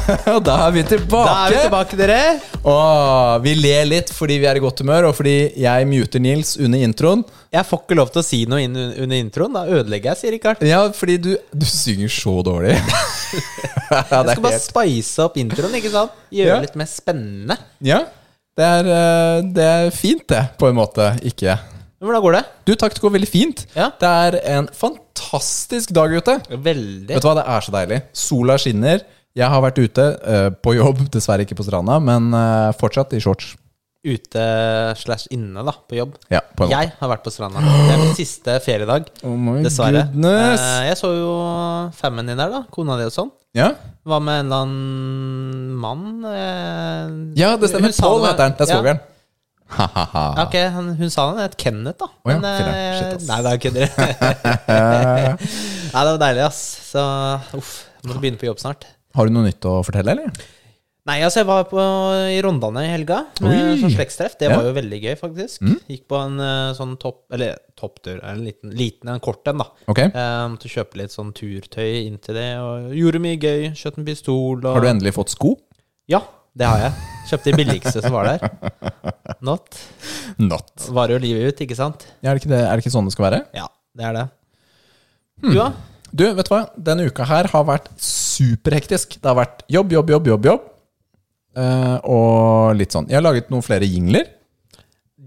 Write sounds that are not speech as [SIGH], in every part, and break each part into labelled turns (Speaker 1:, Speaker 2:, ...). Speaker 1: [LAUGHS] og da er vi tilbake.
Speaker 2: Da er vi tilbake, dere.
Speaker 1: Åh, vi ler litt fordi vi er i godt humør, og fordi jeg muter Nils under introen.
Speaker 2: Jeg får ikke lov til å si noe inn under introen. Da ødelegger jeg, sier Rikard.
Speaker 1: Ja, fordi du, du synger så dårlig. [LAUGHS] ja,
Speaker 2: Jeg
Speaker 1: det er
Speaker 2: skal bare
Speaker 1: helt
Speaker 2: spice opp introen, ikke sant? Gjøre
Speaker 1: Ja.
Speaker 2: det litt mer spennende.
Speaker 1: Ja, det er, eh, det er fint, det, på en måte. Ikke
Speaker 2: Men Hvordan går det?
Speaker 1: Du, takk, det går veldig fint.
Speaker 2: Ja.
Speaker 1: Det er en fantastisk dag ute.
Speaker 2: Veldig.
Speaker 1: Vet du hva, det er så deilig. Sola skinner. Jeg har vært ute eh, på jobb, [LAUGHS] dessverre ikke på stranda, men eh, fortsatt i shorts.
Speaker 2: Ute slash inne, da, på jobb.
Speaker 1: Ja, på en måte.
Speaker 2: Jeg har vært på stranda. Det er min siste feriedag,
Speaker 1: Oh my
Speaker 2: dessverre.
Speaker 1: goodness.
Speaker 2: Eh, Jeg så jo fammen din der, da. Kona di og sånn.
Speaker 1: Ja.
Speaker 2: Hva med en eller annen mann? eh,
Speaker 1: ja, det stemmer.
Speaker 2: hun sa
Speaker 1: Pål
Speaker 2: noe-
Speaker 1: heter han. Det er
Speaker 2: Ja.
Speaker 1: svogeren. Ha-ha-ha.
Speaker 2: Ja, ok, han, Hun sa han het Kenneth, da.
Speaker 1: Å ja,
Speaker 2: Men,
Speaker 1: filler'n.
Speaker 2: eh,
Speaker 1: Shit, ass.
Speaker 2: Nei, da kødder jeg.
Speaker 1: [LAUGHS]
Speaker 2: Nei, det var deilig, ass. Så uff. jeg Må begynne på jobb snart.
Speaker 1: Har du noe nytt å fortelle, eller?
Speaker 2: Nei, altså, jeg var på, i Rondane i helga
Speaker 1: Oi.
Speaker 2: med sånn slektstreff. Det
Speaker 1: Ja. Mm.
Speaker 2: var jo veldig gøy, faktisk. Gikk på en eh, sånn topp Eller topptur, en liten, liten en kort en, da.
Speaker 1: Ok.
Speaker 2: Eh, måtte kjøpe litt sånn turtøy inn til det, og gjorde mye gøy. Kjøpte en pistol og
Speaker 1: Har du endelig fått sko?
Speaker 2: Ja, det har jeg. Kjøpte de billigste som var der. Not.
Speaker 1: Not.
Speaker 2: Varer jo livet ut, ikke sant?
Speaker 1: Ja, er, det ikke det, er det ikke sånn det skal være?
Speaker 2: Ja, det er det.
Speaker 1: Hmm.
Speaker 2: Du, da?
Speaker 1: Du, vet du hva? Denne uka her har vært superhektisk. Det har vært jobb, jobb, jobb, jobb, jobb. Eh, og litt sånn. Jeg har laget noen flere jingler.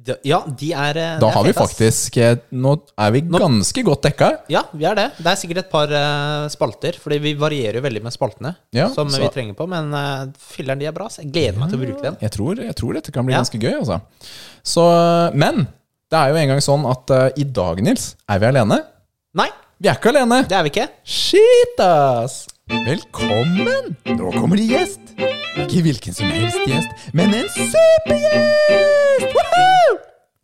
Speaker 2: D- Ja, de er eh,
Speaker 1: Da
Speaker 2: det er
Speaker 1: har vi
Speaker 2: fett, ass.
Speaker 1: faktisk eh, Nå er vi ganske godt dekka.
Speaker 2: Ja, vi er det. Det er sikkert et par eh, spalter, fordi vi varierer jo veldig med spaltene
Speaker 1: Ja,
Speaker 2: som
Speaker 1: så-
Speaker 2: vi trenger på, men uh, filleren de er bra, så jeg gleder meg til å bruke den.
Speaker 1: Jeg tror, jeg tror dette kan bli
Speaker 2: Ja.
Speaker 1: ganske gøy, altså. Så, eh, men det er jo engang sånn at eh, i dag, Nils, er vi alene.
Speaker 2: Nei,
Speaker 1: Vi er ikke alene.
Speaker 2: det er vi ikke.
Speaker 1: Shit, ass! Velkommen! Nå kommer det gjest. Ikke hvilken som helst gjest, men en supergjest! Woohoo!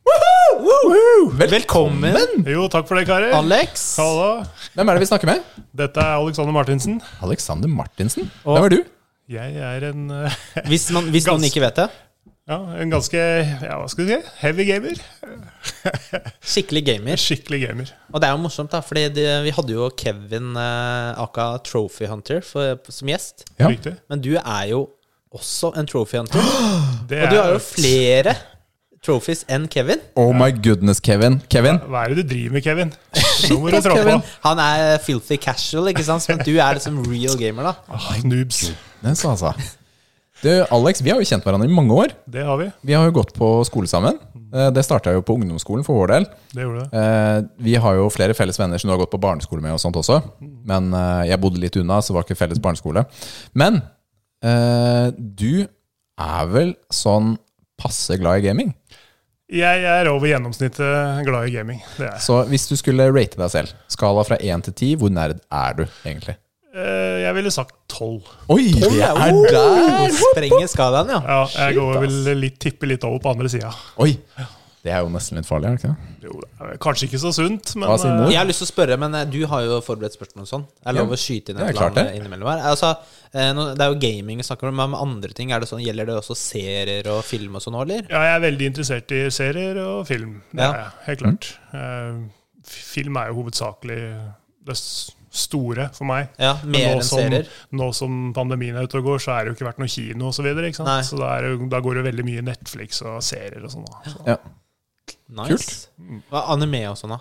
Speaker 1: Woohoo! Woohoo! Vel
Speaker 2: Velkommen,
Speaker 3: Jo, takk for det, karer.
Speaker 2: Alex.
Speaker 3: Hallo.
Speaker 1: Hvem er det vi snakker med?
Speaker 3: Dette er Alexander Martinsen.
Speaker 1: Alexander Martinsen. Hvem er du?
Speaker 3: Jeg er en, eh, [LAUGHS]
Speaker 2: Hvis, man, hvis noen
Speaker 3: Gans-
Speaker 2: ikke vet det,
Speaker 3: ja, en ganske ja, hva skal vi si, heavy gamer.
Speaker 2: skikkelig gamer.
Speaker 3: Skikkelig gamer.
Speaker 2: Og det er jo morsomt, da, fordi de, vi hadde jo Kevin eh, aka Trophy Hunter for, som gjest,
Speaker 1: Ja.
Speaker 3: Riktig.
Speaker 2: men du er jo også en Trophy
Speaker 1: [GASPS]
Speaker 2: Hunter.
Speaker 3: Det
Speaker 2: Og du har
Speaker 3: er-
Speaker 2: jo flere trophies enn Kevin.
Speaker 1: Oh my goodness, Kevin. Kevin,
Speaker 3: Hva er det du driver med,
Speaker 1: [LAUGHS]
Speaker 3: Kevin? Nå må du
Speaker 1: ass,
Speaker 3: trå på.
Speaker 1: Kevin.
Speaker 2: Han er filthy casual, ikke sant? Men du er liksom real gamer, da.
Speaker 3: Ah, noobs.
Speaker 1: Nes, altså. Du, Alex, vi har jo kjent hverandre i mange år.
Speaker 3: Det har vi.
Speaker 1: Vi har jo gått på skole sammen. Eh, Det starta jo på ungdomsskolen for vår del.
Speaker 3: Det gjorde det.
Speaker 1: Eh, Vi har jo flere felles venner som du har gått på barneskole med og sånt også. Men eh, jeg bodde litt unna, så det var ikke felles barneskole. Men eh, du er vel sånn passe glad i gaming.
Speaker 3: Jeg er over gjennomsnittet glad i gaming. Det er. jeg.
Speaker 1: Så hvis du skulle rate deg selv, skala fra én til ti, hvor nerd er du egentlig?
Speaker 3: Eh, Jeg ville sagt tolv.
Speaker 1: Oi, det er der!
Speaker 2: Sprenger skalaen, ja.
Speaker 3: Ja, jeg
Speaker 1: Shit,
Speaker 3: går
Speaker 1: ass.
Speaker 3: vel litt, tipper litt over på andre sida.
Speaker 1: Oi, det er jo nesten litt farlig, er det ikke det?
Speaker 3: Kanskje ikke så sunt, men
Speaker 1: Hva sier mor?
Speaker 3: eh,
Speaker 2: Jeg har lyst til å spørre, men eh, du har jo forberedt spørsmål og sånn. Er det lov å skyte inn
Speaker 1: det
Speaker 2: et
Speaker 1: er klart
Speaker 2: eller annet
Speaker 1: det.
Speaker 2: innimellom her? Altså, eh, nå- det er jo gaming vi snakker om, men med andre ting, er det sånn, gjelder det også serier og film og sånn òg, eller?
Speaker 3: Ja, jeg er veldig interessert i serier og film. Det
Speaker 2: Ja. Mm.
Speaker 3: er jeg, helt klart. Eh, f- film er jo hovedsakelig det s- store for meg.
Speaker 2: Ja,
Speaker 3: Men
Speaker 2: mer
Speaker 3: nå
Speaker 2: enn
Speaker 3: som,
Speaker 2: serier.
Speaker 3: Nå som pandemien er ute og går, så er det jo ikke vært noe kino osv. Så, videre, ikke
Speaker 2: Nei.
Speaker 3: sant? så da, er det, jo- da går det veldig mye Netflix og serier og sånn. da. Så
Speaker 1: Ja.
Speaker 2: Nice. Hva er anime og sånn, da?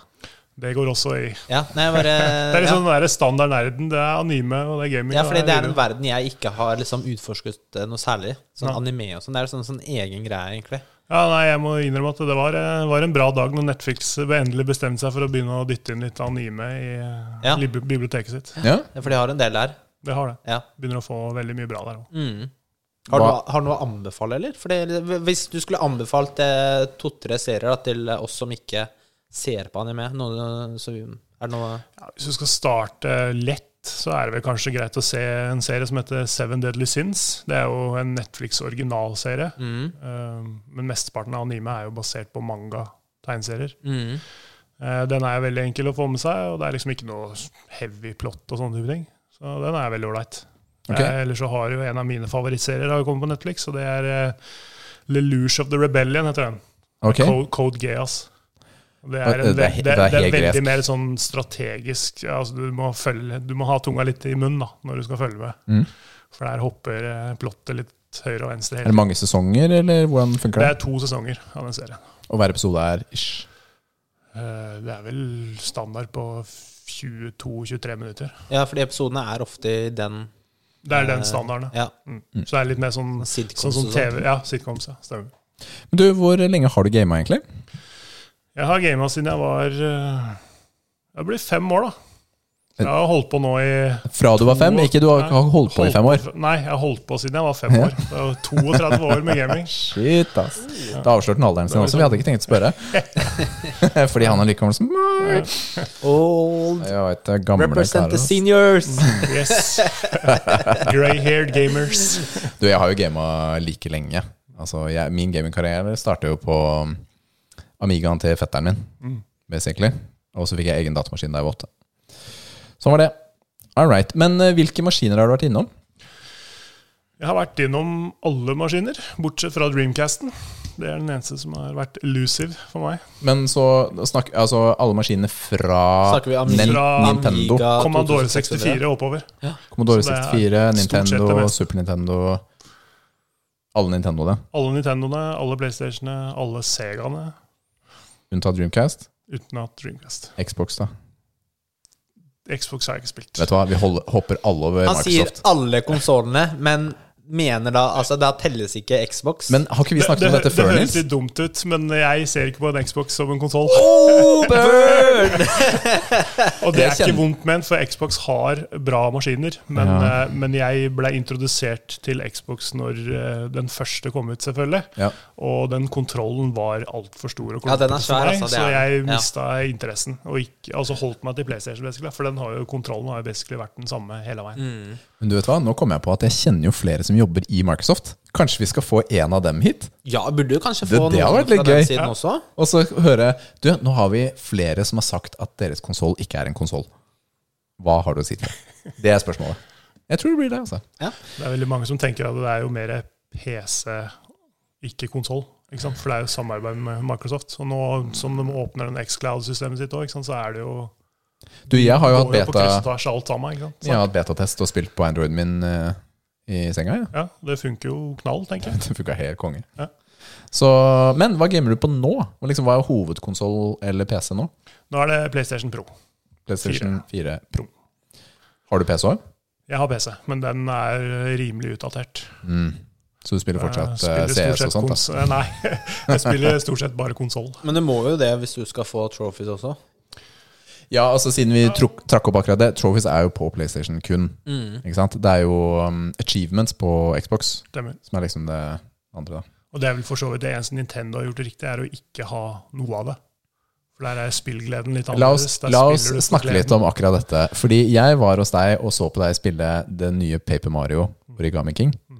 Speaker 3: det går også i
Speaker 2: Ja, nei, jeg bare
Speaker 3: [LAUGHS] Det er
Speaker 2: ja.
Speaker 3: liksom den der standard nerden. Det er anime og det er gaming.
Speaker 2: Ja,
Speaker 3: og
Speaker 2: fordi det er en
Speaker 3: video.
Speaker 2: verden jeg ikke har liksom utforsket eh, noe særlig. Sånn
Speaker 3: Nei.
Speaker 2: anime og sånn. Det er sånn, sånn egen greie, egentlig.
Speaker 3: ja, nei, jeg må innrømme at det var, eh, var en bra dag når Netflix endelig bestemte seg for å begynne å dytte inn litt anime i eh,
Speaker 2: Ja.
Speaker 3: lib- biblioteket sitt.
Speaker 1: Ja?
Speaker 2: Ja, For de har en del der.
Speaker 3: Det har det.
Speaker 2: Ja.
Speaker 3: Begynner å få veldig mye bra der òg.
Speaker 2: Har du,
Speaker 1: Hva-
Speaker 2: har du noe å anbefale, eller? Fordi, hvis du skulle anbefalt eh, to-tre serier da, til eh, oss som ikke ser på anime, noe, så er det noe
Speaker 3: Ja, hvis du skal starte lett, så er det vel kanskje greit å se en serie som heter Seven Deadly Sins. Det er jo en Netflix-originalserie.
Speaker 2: Mm.
Speaker 3: Eh, Men mesteparten av anime er jo basert på manga-tegneserier.
Speaker 2: Mm.
Speaker 3: Eh, Den er jo veldig enkel å få med seg, og det er liksom ikke noe heavy plot og sånne type ting. Så den er veldig ålreit.
Speaker 1: Ok.
Speaker 3: Eh, Ellers så har jo en av mine favorittserier har jo kommet på Netflix, og det er eh, Lelouch of the Rebellion, heter den.
Speaker 1: Ok.
Speaker 3: Code, Code Geass. Det er,
Speaker 1: Og
Speaker 3: en,
Speaker 1: det er- det
Speaker 3: ve- det, det
Speaker 1: er
Speaker 3: er
Speaker 1: helt
Speaker 3: veldig
Speaker 1: gresk.
Speaker 3: mer sånn strategisk ja, altså du, må følge, du må ha tunga litt i munnen da, når du skal følge med. For der hopper eh, plottet litt høyre og venstre.
Speaker 1: Mm. Er det
Speaker 3: Hele.
Speaker 1: mange sesonger, eller hvordan funker
Speaker 3: Det
Speaker 1: det?
Speaker 3: er to sesonger av den serien.
Speaker 1: Og hver episode er ish.
Speaker 3: Eh, Det er vel standard på 22-23 minutter.
Speaker 2: Ja, fordi episodene er ofte i den
Speaker 3: Det er
Speaker 2: Eh,
Speaker 3: den standarden.
Speaker 2: Ja,
Speaker 3: ja. Mm. Så det er litt mer sånn,
Speaker 2: sitcoms
Speaker 3: sånn som
Speaker 2: og sånn.
Speaker 3: TV. Ja, sitcoms. Ja, stemmer.
Speaker 1: Men du, hvor lenge har du gama, egentlig?
Speaker 3: Jeg har gama siden jeg var eh, Jeg blir fem år, da. Jeg har holdt på nå i
Speaker 1: Fra du var fem? Ikke du har ikke holdt på i fem år?
Speaker 3: Nei, jeg har holdt på siden jeg var fem år. Det var 32 år med gaming.
Speaker 1: Shit, ass. Da avslørte han alderen sin også. Vi hadde ikke tenkt å spørre.
Speaker 3: [LAUGHS]
Speaker 1: Fordi han er like gammel som meg.
Speaker 2: Old
Speaker 1: Jeg vet, det er gamle
Speaker 2: Represent
Speaker 1: karer.
Speaker 2: the
Speaker 1: ass.
Speaker 2: seniors!
Speaker 1: [LAUGHS]
Speaker 3: Yes. Grey-haired gamers.
Speaker 1: Du, jeg har jo gama like lenge. Altså, jeg, min gamingkarriere startet jo på um, Amigaen til fetteren min,
Speaker 3: Mm.
Speaker 1: basically. Og så fikk jeg egen datamaskin da jeg var åtte. Sånn var det. All right. Men eh, hvilke maskiner har du vært innom?
Speaker 3: Jeg har vært innom alle maskiner, bortsett fra Dreamcasten. Det er den eneste som har vært elusive for meg.
Speaker 1: Men så snakk, altså alle maskinene fra
Speaker 2: Snakker vi Amiga,
Speaker 1: Nen-
Speaker 3: Amiga,
Speaker 1: Nintendo.
Speaker 2: Ja,
Speaker 3: Commodore
Speaker 2: 2600.
Speaker 3: 64 og oppover.
Speaker 1: Commodore
Speaker 3: Så det er
Speaker 1: 64,
Speaker 3: stort sett det
Speaker 1: Nintendo,
Speaker 3: meste.
Speaker 1: Super Nintendo Alle Nintendoene,
Speaker 3: Alle Nintendoene, alle PlayStationene, alle Segaene,
Speaker 1: unntatt Dreamcast.
Speaker 3: uten at Dreamcast.
Speaker 1: Xbox, da.
Speaker 3: Xbox har jeg ikke spilt.
Speaker 1: Vet du hva, vi holder, hopper alle over
Speaker 2: Han sier
Speaker 1: Microsoft.
Speaker 2: alle konsollene, men mener da Altså, da telles ikke Xbox.
Speaker 1: Men har ikke vi snakket om dette før,
Speaker 3: det
Speaker 1: Nils?
Speaker 3: høres litt dumt ut, men jeg ser ikke på en Xbox som en konsoll.
Speaker 2: oh, burn!
Speaker 3: Og det
Speaker 1: Jeg
Speaker 3: er ikke
Speaker 1: kjenner-
Speaker 3: vondt ment, for Xbox har bra maskiner. Men,
Speaker 1: Ja.
Speaker 3: eh, men jeg ble introdusert til Xbox når eh, den første kom ut, selvfølgelig.
Speaker 1: Ja.
Speaker 3: Og den kontrollen var altfor stor og
Speaker 2: Ja, den er
Speaker 3: klumpete
Speaker 2: svær,
Speaker 3: for meg,
Speaker 2: altså, det
Speaker 3: så
Speaker 2: er
Speaker 3: jeg
Speaker 2: den. Ja.
Speaker 3: mista interessen. Og ikke, altså holdt meg til PlayStation, basically, for den har jo, kontrollen har jo basically vært den samme hele veien.
Speaker 2: Mm.
Speaker 1: Men du vet hva, nå kommer jeg på at jeg kjenner jo flere som jobber i Microsoft. Kanskje vi skal få en av dem hit?
Speaker 2: Ja, burde du kanskje
Speaker 1: Det-
Speaker 2: få
Speaker 1: det har
Speaker 2: noen
Speaker 1: vært litt
Speaker 2: fra den
Speaker 1: gøy.
Speaker 2: siden også?
Speaker 1: Og så høre Du, nå har vi flere som har sagt at deres konsoll ikke er en konsoll. Hva har du å si til det? Det er spørsmålet. Jeg tror det blir det, altså.
Speaker 3: Det er veldig mange som tenker at det er jo mer PC, ikke konsoll. Ikke sant? For det er jo samarbeid med Microsoft. Og nå som de åpner den Xcloud-systemet sitt òg, så er det jo
Speaker 1: Du, jeg har jo hatt
Speaker 3: går jo
Speaker 1: beta
Speaker 3: på kryss og tvers alt sammen. Ikke sant?
Speaker 1: Jeg har hatt betatest og spilt på Androiden min eh, i senga, ja. [LAUGHS]
Speaker 3: Ja, det funker jo knall, tenker jeg.
Speaker 1: Det funka helt konge.
Speaker 3: Ja.
Speaker 1: Så, men hva gamer du på nå? Hva Liksom, hva er hovedkonsoll eller PC nå?
Speaker 3: Nå er det PlayStation Pro.
Speaker 1: PlayStation 4 Pro. Har du PC òg?
Speaker 3: Jeg har PC, men den er rimelig utdatert.
Speaker 1: Mm. Så du spiller fortsatt eh,
Speaker 3: Jeg spiller
Speaker 1: CS og sånt?
Speaker 3: stort
Speaker 1: da?
Speaker 3: sett kons- Nei, [LAUGHS] jeg spiller stort sett bare konsoll.
Speaker 2: Men du må jo det hvis du skal få trophies også.
Speaker 1: Ja, altså siden vi trukk- trakk opp akkurat det, trophies er jo på PlayStation kun. Ikke sant? Det er jo um, achievements på Xbox
Speaker 3: Stemmer.
Speaker 1: som er liksom det andre, da.
Speaker 3: Og det er vel for så vidt det eneste Nintendo har gjort riktig, er å ikke ha noe av det. For der er spillgleden litt
Speaker 1: La oss,
Speaker 3: annerledes. Der
Speaker 1: la oss
Speaker 3: spiller du for
Speaker 1: snakke litt
Speaker 3: gleden.
Speaker 1: om akkurat dette. Fordi jeg var hos deg og så på deg spille det nye Paper Mario Origami King.
Speaker 3: Mm.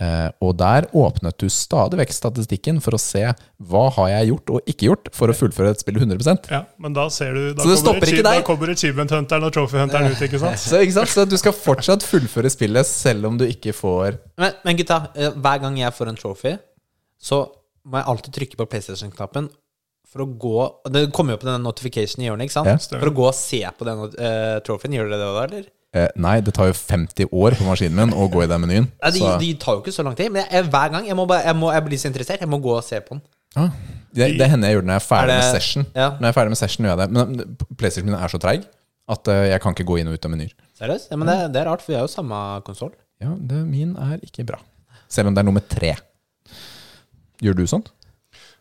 Speaker 1: Eh, og der åpnet du stadig vekk statistikken for å se hva har jeg gjort og ikke gjort for å fullføre et spill 100
Speaker 3: ja, men da ser du da
Speaker 1: Så det
Speaker 3: kommer
Speaker 1: stopper ikke
Speaker 3: achie-
Speaker 1: deg?
Speaker 3: Da kommer achievement hunteren og trophy hunteren ut,
Speaker 1: [LAUGHS]
Speaker 3: ikke sant?
Speaker 1: Så, ikke sant? så du skal fortsatt fullføre spillet selv om du ikke får
Speaker 2: Men, men gutta, eh, hver gang jeg får en trophy, så må jeg alltid trykke på PlayStation-knappen for å gå Det kommer jo opp den notification i hjørnet, ikke sant?
Speaker 1: Ja.
Speaker 2: for å gå og se på den eh, trophyen. Gjør dere det da, eller?
Speaker 1: eh, Nei, det tar jo 50 år på maskinen min å gå i den menyen.
Speaker 2: Nei, det,
Speaker 1: Så,
Speaker 2: det tar jo ikke så lang tid, men jeg, jeg, hver gang jeg, må bare, jeg, må, jeg blir så interessert. Jeg må gå og se på den.
Speaker 1: ah, det, det hender jeg gjør det når jeg er ferdig
Speaker 2: Er
Speaker 1: med
Speaker 2: det-
Speaker 1: session.
Speaker 2: ja.
Speaker 1: Når jeg er ferdig med session gjør jeg det Men eh, PlayStation min er så treig at eh, jeg kan ikke gå inn og ut av menyer.
Speaker 2: Seriøst? Ja, men det, det er rart, for vi er jo samme konsoll.
Speaker 1: Ja, det, min er ikke bra. Selv om det er nummer tre. Gjør du sånt?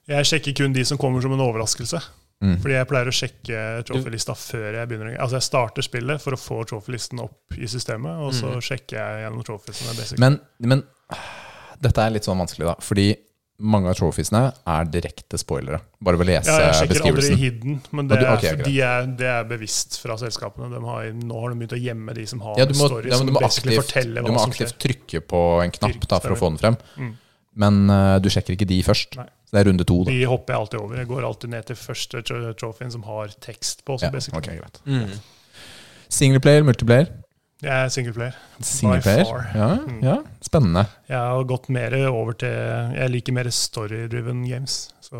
Speaker 3: Jeg sjekker kun de som kommer som en overraskelse.
Speaker 1: Mm.
Speaker 3: Fordi jeg pleier å sjekke trophy-lista før jeg begynner. Altså jeg starter spillet for å få trophy-listen opp i systemet, og så sjekker jeg gjennom trophy-listen. basically.
Speaker 1: Mm. Men, men ah, dette er litt sånn vanskelig, da. Fordi mange av trophiesene er direkte spoilere. Bare ved å lese
Speaker 3: Ja, jeg sjekker aldri
Speaker 1: beskrivelsen.
Speaker 3: hidden, men
Speaker 1: Ja,
Speaker 3: det
Speaker 1: du-
Speaker 3: er,
Speaker 1: ok, greit.
Speaker 3: fordi jeg, det er bevisst fra selskapene. De har, nå har de begynt å gjemme de som har
Speaker 1: Ja, du må,
Speaker 3: story,
Speaker 1: ja, men
Speaker 3: som
Speaker 1: du må
Speaker 3: basically
Speaker 1: aktivt,
Speaker 3: forteller
Speaker 1: du
Speaker 3: hva
Speaker 1: må
Speaker 3: som skjer.
Speaker 1: aktivt trykke på en knapp da, for å
Speaker 3: Stemmer.
Speaker 1: få den frem. Men eh, du sjekker ikke de først.
Speaker 3: Mm. Nei.
Speaker 1: Så det er runde to, da.
Speaker 3: De hopper jeg alltid over. Jeg går alltid ned til første tro- trophyen som har tekst på.
Speaker 1: Ja,
Speaker 3: Så basically.
Speaker 1: ok, greit. Singleplayer, multiplayer?
Speaker 3: Jeg er singleplayer.
Speaker 1: Singleplayer.
Speaker 3: far. Mm.
Speaker 1: Ja, ja, spennende.
Speaker 3: Jeg har gått mer over til Jeg liker mer story-driven games. Så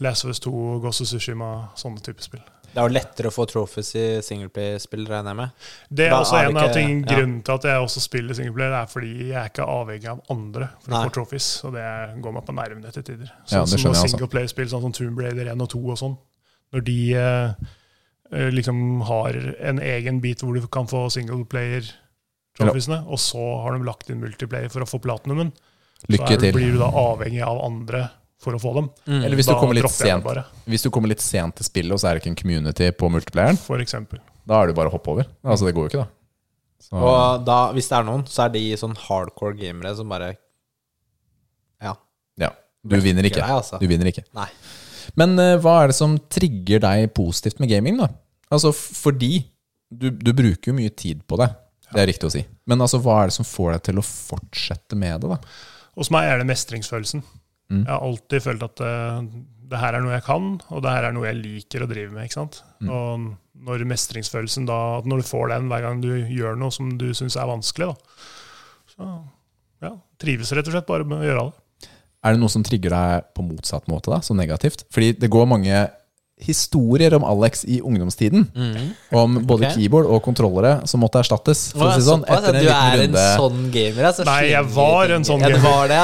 Speaker 3: Last of Us 2, Ghost of Tsushima, sånne typer spill.
Speaker 2: Det er jo lettere å få trophies i singleplay-spill, regner jeg med.
Speaker 3: Det er
Speaker 2: Da
Speaker 3: også
Speaker 2: er det
Speaker 3: en av
Speaker 2: ikke-
Speaker 3: ting,
Speaker 2: ja.
Speaker 3: grunnen til at jeg også spiller singleplayer, er fordi jeg er ikke avhengig av andre for
Speaker 2: Nei.
Speaker 3: å få trophies. Og det går meg på nervene til tider.
Speaker 1: Ja, det skjønner
Speaker 3: Sånn som når
Speaker 1: jeg altså. også.
Speaker 3: singleplayerspill sånn som Tomb Raider 1 og 2 og sånn. Når de eh, eh, liksom har en egen bit hvor du kan få singleplayer-trophiesene, og så har de lagt inn multiplayer for å få platinumen, så
Speaker 1: Lykke
Speaker 3: er,
Speaker 1: til.
Speaker 3: blir du da avhengig av andre for å få dem.
Speaker 1: Eller hvis du
Speaker 3: Da
Speaker 1: kommer litt
Speaker 3: dropper jeg det
Speaker 1: sent Hvis du kommer litt sent til spillet, og så er det ikke en community på multiplayeren,
Speaker 3: bare, for eksempel.
Speaker 1: da er det jo bare å hoppe over. Altså, det går jo ikke, da. Så,
Speaker 2: Og da, hvis det er noen, så er de sånn hardcore gamere som bare Ja.
Speaker 1: ja. Du vinner ikke.
Speaker 2: Grei, altså.
Speaker 1: Du vinner ikke.
Speaker 2: Nei.
Speaker 1: Men eh, hva er det som trigger deg positivt med gaming, da? Altså f- fordi du, du bruker jo mye tid på det. Det er riktig å si. Men altså, hva er det som får deg til å fortsette med det, da?
Speaker 3: Hos meg er det mestringsfølelsen.
Speaker 1: Mm.
Speaker 3: Jeg har alltid følt at eh, det her er noe jeg kan, og det her er noe jeg liker å drive med. ikke sant?
Speaker 1: Mm.
Speaker 3: Og når mestringsfølelsen da, at når du får den hver gang du gjør noe som du syns er vanskelig, da, så ja, trives rett og slett bare med å gjøre det.
Speaker 1: Er det noe som trigger deg på motsatt måte, da? Så negativt? Fordi det går mange historier om Alex i ungdomstiden. Om både
Speaker 2: Mhm. Ok.
Speaker 1: keyboard og kontrollere som måtte erstattes. For å si det sånn,
Speaker 2: Såpass,
Speaker 1: etter en
Speaker 2: du er
Speaker 1: liten runde.
Speaker 2: en sånn gamer, altså.
Speaker 3: Nei, jeg
Speaker 2: Skikkelig
Speaker 3: var en sånn
Speaker 2: Ja, du
Speaker 3: gamer.
Speaker 2: var det,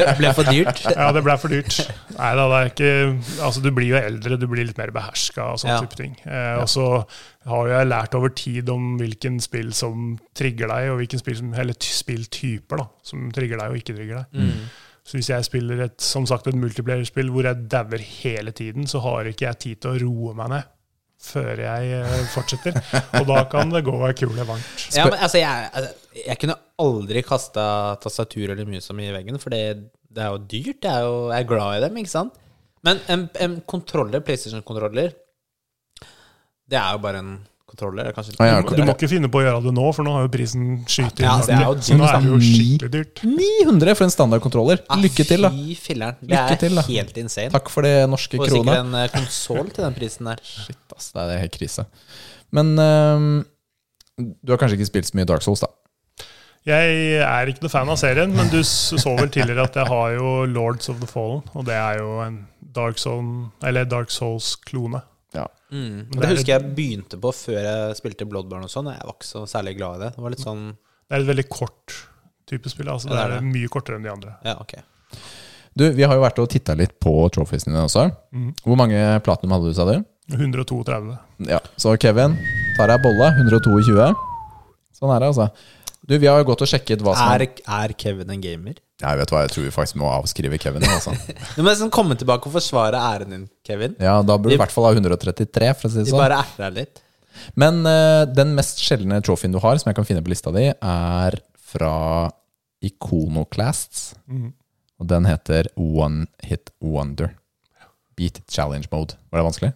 Speaker 2: ja. Ble, ble for dyrt.
Speaker 3: [LAUGHS] Ja, det ble for dyrt. Nei da, det er ikke Altså, du blir jo eldre, du blir litt mer beherska og
Speaker 2: Ja.
Speaker 3: sånne type ting. Eh, Og så har jo jeg lært over tid om hvilken spill som trigger deg, og hvilken spill som, eller ty- spilltyper da, som trigger deg og ikke trigger deg.
Speaker 2: Mm.
Speaker 3: Så hvis jeg spiller et som sagt, et multiplayer-spill hvor jeg dauer hele tiden, så har ikke jeg tid til å roe meg ned før jeg eh, fortsetter. Og da kan det gå ei kule varmt.
Speaker 2: Ja, men altså, jeg, altså, jeg kunne aldri kasta tastatur eller mus i veggen, for det, det er jo dyrt. Jeg er jo jeg er glad i dem, ikke sant? Men en, en kontroller, PlayStation-kontroller, det er jo bare en kontroller. det er Kanskje
Speaker 1: Ja, ja,
Speaker 3: Du må ikke finne på å gjøre det nå, for nå har jo prisen skyter
Speaker 2: Ja,
Speaker 3: inn.
Speaker 2: det er jo sånn
Speaker 3: ordentlig. så nå er det jo
Speaker 1: dyrt.
Speaker 3: skikkelig dyrt.
Speaker 1: 900 for en standardkontroller. Lykke til, da.
Speaker 2: Fy filleren. Det
Speaker 1: Lykke
Speaker 2: er
Speaker 1: til, da.
Speaker 2: helt insane.
Speaker 1: Takk for det norske
Speaker 2: Får
Speaker 1: krona.
Speaker 2: sikkert en eh, konsol til den prisen der.
Speaker 1: Shit, ass. Det er helt krise. Men øhm, du har kanskje ikke spilt så mye Dark Souls, da?
Speaker 3: Jeg er ikke noe fan av serien, men du s- så vel tidligere at jeg har jo Lords of the Fallen, og det er jo en Dark, Zone, eller Dark Souls-klone.
Speaker 1: Ja.
Speaker 2: Mm.
Speaker 3: Men det
Speaker 2: Det
Speaker 3: er
Speaker 2: husker jeg begynte på før jeg spilte Bloodborne og sånn. og Jeg var ikke så særlig glad i det. Det var litt sånn
Speaker 3: Det er et veldig kort type spill, altså det
Speaker 2: Ja, det er
Speaker 3: er mye kortere enn de andre.
Speaker 2: Ja, ok.
Speaker 1: Du, vi har jo vært og titta litt på trophiesene dine også.
Speaker 2: Mhm.
Speaker 1: Hvor mange platinum hadde du, sa du?
Speaker 3: 132.
Speaker 1: Ja, Så Kevin tar deg bolla. 122. Sånn er det, altså. Du, vi har jo gått og sjekket hva som
Speaker 2: Er, er Kevin en gamer?
Speaker 1: Jeg vet hva, jeg tror vi faktisk må avskrive Kevin.
Speaker 2: [LAUGHS]
Speaker 1: Altså.
Speaker 2: Du må nesten komme tilbake og forsvare æren din, Kevin.
Speaker 1: Ja, Da burde du i hvert fall ha 133, for å si det
Speaker 2: De
Speaker 1: sånn.
Speaker 2: bare erter deg litt.
Speaker 1: Men eh, den mest sjeldne trophyen du har, som jeg kan finne på lista di, er fra Iconoclasts. Og den heter One Hit Wonder. Beat Challenge Mode. Var det vanskelig?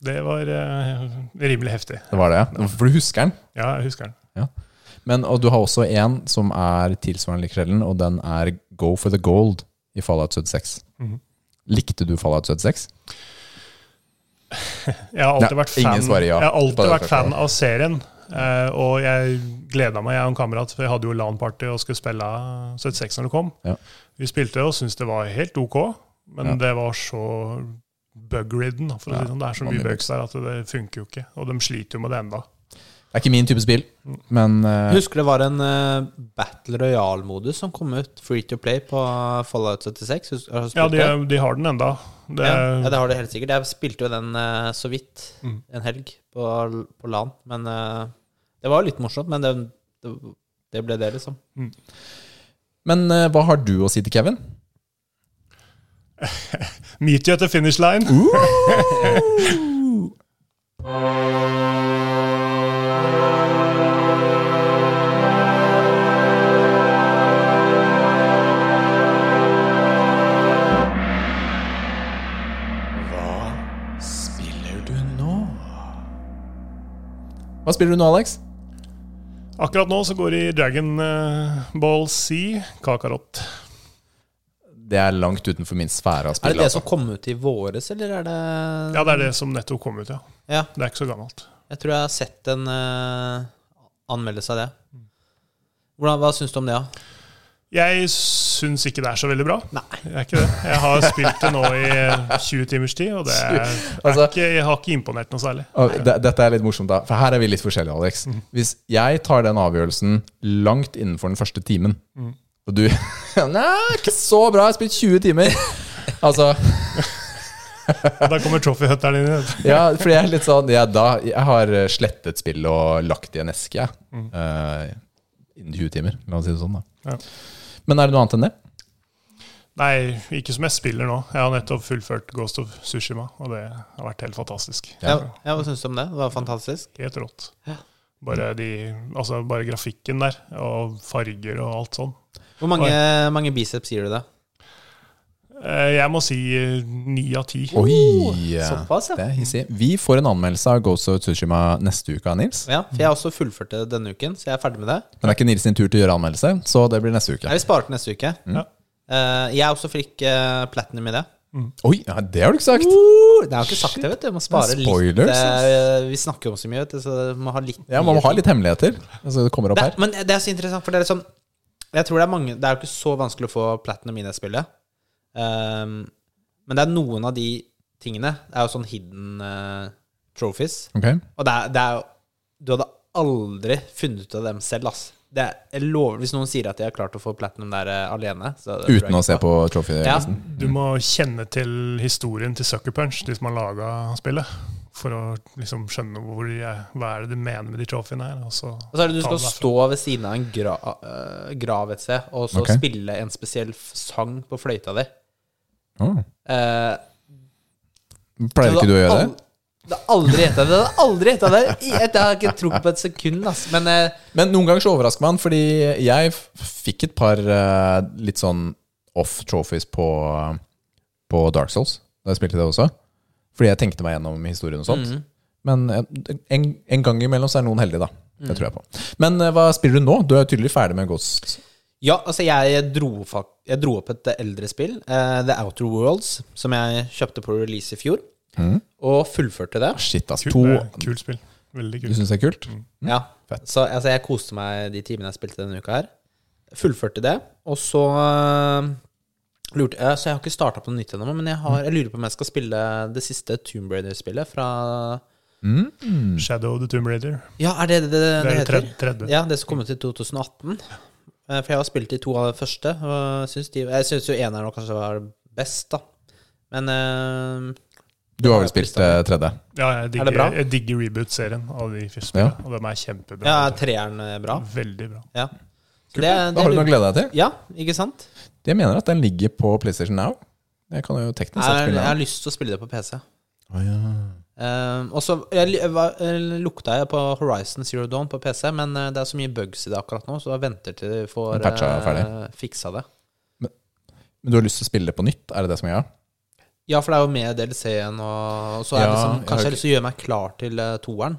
Speaker 3: Det var eh, rimelig heftig.
Speaker 1: Det var det, ja. For du husker den.
Speaker 3: Ja, jeg husker den.
Speaker 1: Men, og du har også en som er tilsvarende like sjelden, og den er Go for the Gold i Fallout 76.
Speaker 3: Mhm.
Speaker 1: Likte du Fallout 76?
Speaker 3: Jeg har alltid
Speaker 1: Nei,
Speaker 3: vært
Speaker 1: ingen
Speaker 3: fan,
Speaker 1: svarer ja
Speaker 3: jeg har
Speaker 1: på
Speaker 3: alltid
Speaker 1: det
Speaker 3: vært fan av serien. eh, og jeg gleda meg, jeg og en kamerat, for jeg hadde jo LAN-party og skulle spille 76 når det kom.
Speaker 1: Ja.
Speaker 3: Vi spilte og syntes det var helt OK, men
Speaker 1: Ja.
Speaker 3: det var så bug-ridden. For å
Speaker 1: Ja,
Speaker 3: si det sånn. Det er så
Speaker 1: det var mye
Speaker 3: mye bugs der at det funker jo ikke. Og de sliter jo med det enda.
Speaker 1: Det er ikke min type spill, men eh,
Speaker 2: Husker det var en eh, Battle Royale-modus som kom ut, free to play, på Fallout 76? Hus- Har du
Speaker 3: Ja,
Speaker 2: spilt
Speaker 3: de,
Speaker 2: det?
Speaker 3: de har den enda. Det,
Speaker 2: Ja, ja, det har du helt sikkert. Jeg spilte jo den eh, så vidt
Speaker 3: Mm.
Speaker 2: en helg på, på LAN. Men eh, det var jo litt morsomt, men det, det, det ble det, liksom.
Speaker 1: men eh, hva har du å si til Kevin?
Speaker 3: Meet you at the finish line.
Speaker 1: Uh. Spiller du nå? Hva spiller du nå, Alex?
Speaker 3: Akkurat nå så går det i Dragon eh, Ball C, Kakarot.
Speaker 1: Det er langt utenfor min sfære av
Speaker 2: Er
Speaker 1: spill.
Speaker 2: det det
Speaker 1: altså.
Speaker 2: som kom ut i våres, eller er det
Speaker 3: Ja, det er det som nettopp kom ut, ja.
Speaker 2: Ja,
Speaker 3: Det er ikke så gammelt.
Speaker 2: jeg tror jeg har sett en eh, anmeldelse av det. Hvordan, hva syns du om det, da?
Speaker 3: Jeg syns ikke det er så veldig bra.
Speaker 2: Nei.
Speaker 3: Jeg, er ikke det. jeg har spilt det nå i 20 timers tid, og det er, er
Speaker 1: Altså-
Speaker 3: ikke, jeg har ikke imponert noe særlig.
Speaker 1: Og de- Dette er litt morsomt, da. For her er vi litt forskjellige, Alex. Hvis jeg tar den avgjørelsen langt innenfor den første timen, og du [LAUGHS] Nei, ikke så bra, jeg har spilt 20 [LAUGHS] timer. Altså,
Speaker 3: Da kommer trophyhunteren inn. i det.
Speaker 1: ja, for jeg er litt sånn jeg, da, jeg har slettet spillet og lagt det i en eske, jeg. Eh, innen 20 timer, la oss si det sånn, da.
Speaker 3: Ja.
Speaker 1: Men er det noe annet enn det?
Speaker 3: Nei, ikke som jeg spiller nå. Jeg har nettopp fullført Ghost of Sushima, og det har vært helt fantastisk.
Speaker 2: Ja, ja, Hva syns du om det? Det var fantastisk.
Speaker 3: Helt rått.
Speaker 2: Ja.
Speaker 3: Bare, de, altså bare grafikken der, og farger og alt sånn.
Speaker 2: Hvor mange, mange biceps gir du det?
Speaker 3: Eh, Jeg må si eh, ni av ti.
Speaker 1: Oi!
Speaker 2: såpass, ja.
Speaker 1: Det er hissig. Vi får en anmeldelse av Ghost of Tsushima neste uke av Nils.
Speaker 2: Ja, for jeg har også fullført det denne uken, så jeg er ferdig med det.
Speaker 1: Men det er ikke Nils sin tur til å gjøre anmeldelse, så det blir neste uke.
Speaker 2: Jeg vil spare til neste uke.
Speaker 3: Ja.
Speaker 2: Eh, jeg er også fikk uh, platinum i det.
Speaker 1: Oi, ja, det har du ikke sagt!
Speaker 2: Det har jeg ikke sagt det, vet du. Jeg må spare
Speaker 1: Det er
Speaker 2: litt.
Speaker 1: spoilers,
Speaker 2: eh, vi snakker jo om så mye, vet du, så jeg må ha litt
Speaker 1: Ja, Man må ha litt hemmeligheter. Altså, det kommer opp
Speaker 2: det,
Speaker 1: her.
Speaker 2: Men det er så interessant, for det er liksom Jeg tror det er mange Det er jo ikke så vanskelig å få platinum i det spillet. Ehm, men det er noen av de tingene. Det er jo sånn hidden eh, trophies.
Speaker 1: Ok,
Speaker 2: Og det er, det er jo Du hadde aldri funnet ut av dem selv, ass. Det er, jeg lover, hvis noen sier at de har klart å få platinum der eh, alene så tror jeg
Speaker 1: Uten å
Speaker 2: ikke
Speaker 1: se på
Speaker 2: ja,
Speaker 1: trophy-listen.
Speaker 3: Du må kjenne til historien til Sucker Punch, de som har laga spillet. For å liksom skjønne hvor de er, hva er det de mener med de trofeene her. Og så
Speaker 2: Og så er det du
Speaker 3: ta
Speaker 2: skal
Speaker 3: det derfra.
Speaker 2: stå ved siden av en gra, eh, grav et sted, og så
Speaker 1: Ok.
Speaker 2: spille en spesiell f- sang på fløyta di.
Speaker 1: Åh.
Speaker 2: Eh,
Speaker 1: Pleier ikke du å gjøre det?
Speaker 2: Det har aldri gjetta det. Jeg har aldri gjetta det. Jeg har ikke tro på et sekund, ass. Men eh,
Speaker 1: Men noen ganger så overrasker man, fordi jeg f- fikk et par eh, litt sånn off trophies på, på Dark Souls. Da jeg spilte det også. Fordi jeg tenkte meg gjennom historien og sånt.
Speaker 2: Mhm.
Speaker 1: Men eh, en, en gang imellom så er noen heldige, da.
Speaker 2: Mhm.
Speaker 1: Det tror jeg på. Men eh, hva spiller du nå? Du er jo tydelig ferdig med Ghost.
Speaker 2: ja, altså, jeg dro, fak- jeg dro opp et eldre spill, eh, The Outer Worlds, som jeg kjøpte på release i fjor,
Speaker 1: Mm.
Speaker 2: og fullførte det.
Speaker 1: Shit, ass.
Speaker 3: Kult,
Speaker 1: To
Speaker 3: eh, kult spill. Veldig
Speaker 1: Du
Speaker 3: kult.
Speaker 1: syns det er kult?
Speaker 2: Ja.
Speaker 1: Mm. Fett.
Speaker 2: Så altså, jeg koste meg de timene jeg spilte denne uka her. Fullførte det, og så eh, lurte jeg Så jeg har ikke starta på noe nytt ennå, men jeg, har, jeg lurer på om jeg skal spille det siste Tomb Raider-spillet fra
Speaker 3: Shadow of the Tomb Raider.
Speaker 2: Ja, er det det det,
Speaker 3: Det
Speaker 2: det
Speaker 3: er i
Speaker 2: heter?
Speaker 3: tredje. tredje.
Speaker 2: Ja, det som kom ut i 2018. Eh, For jeg har spilt de to av de første, og syns de, jeg syns jo eneren var kanskje var best, da. Men eh,
Speaker 1: Du har vel spilt eh, tredje?
Speaker 3: Ja, jeg
Speaker 2: Er det bra?
Speaker 3: digger, jeg digger reboot-serien av de første spillene, og de er
Speaker 2: ja,
Speaker 3: kjempebra.
Speaker 2: er treeren eh, bra?
Speaker 3: Veldig bra.
Speaker 2: Ja. Så det,
Speaker 1: Da har du noe å glede deg til.
Speaker 2: Ja, ikke sant?
Speaker 1: Jeg mener at den ligger på PlayStation Now. Jeg kan jo teknisk sett
Speaker 2: Jeg, jeg
Speaker 1: spille
Speaker 2: har
Speaker 1: den.
Speaker 2: lyst til å spille det på PC.
Speaker 1: Å, ja.
Speaker 2: Eh, og så jeg li- jeg var- jeg lukta jeg på Horizon Zero Dawn på PC, men eh, det er så mye bugs i det akkurat nå, så jeg venter til de får
Speaker 1: Den patcha er
Speaker 2: eh, fiksa det.
Speaker 1: Men du har lyst til å spille det på nytt? Er det det som er greia?
Speaker 2: Ja, for det er jo med DLC-en, og og så er
Speaker 1: Ja,
Speaker 2: det
Speaker 1: jeg
Speaker 2: liksom,
Speaker 1: har
Speaker 2: kanskje jeg
Speaker 1: ikke-
Speaker 2: har lyst til å gjøre meg klar til eh, toeren.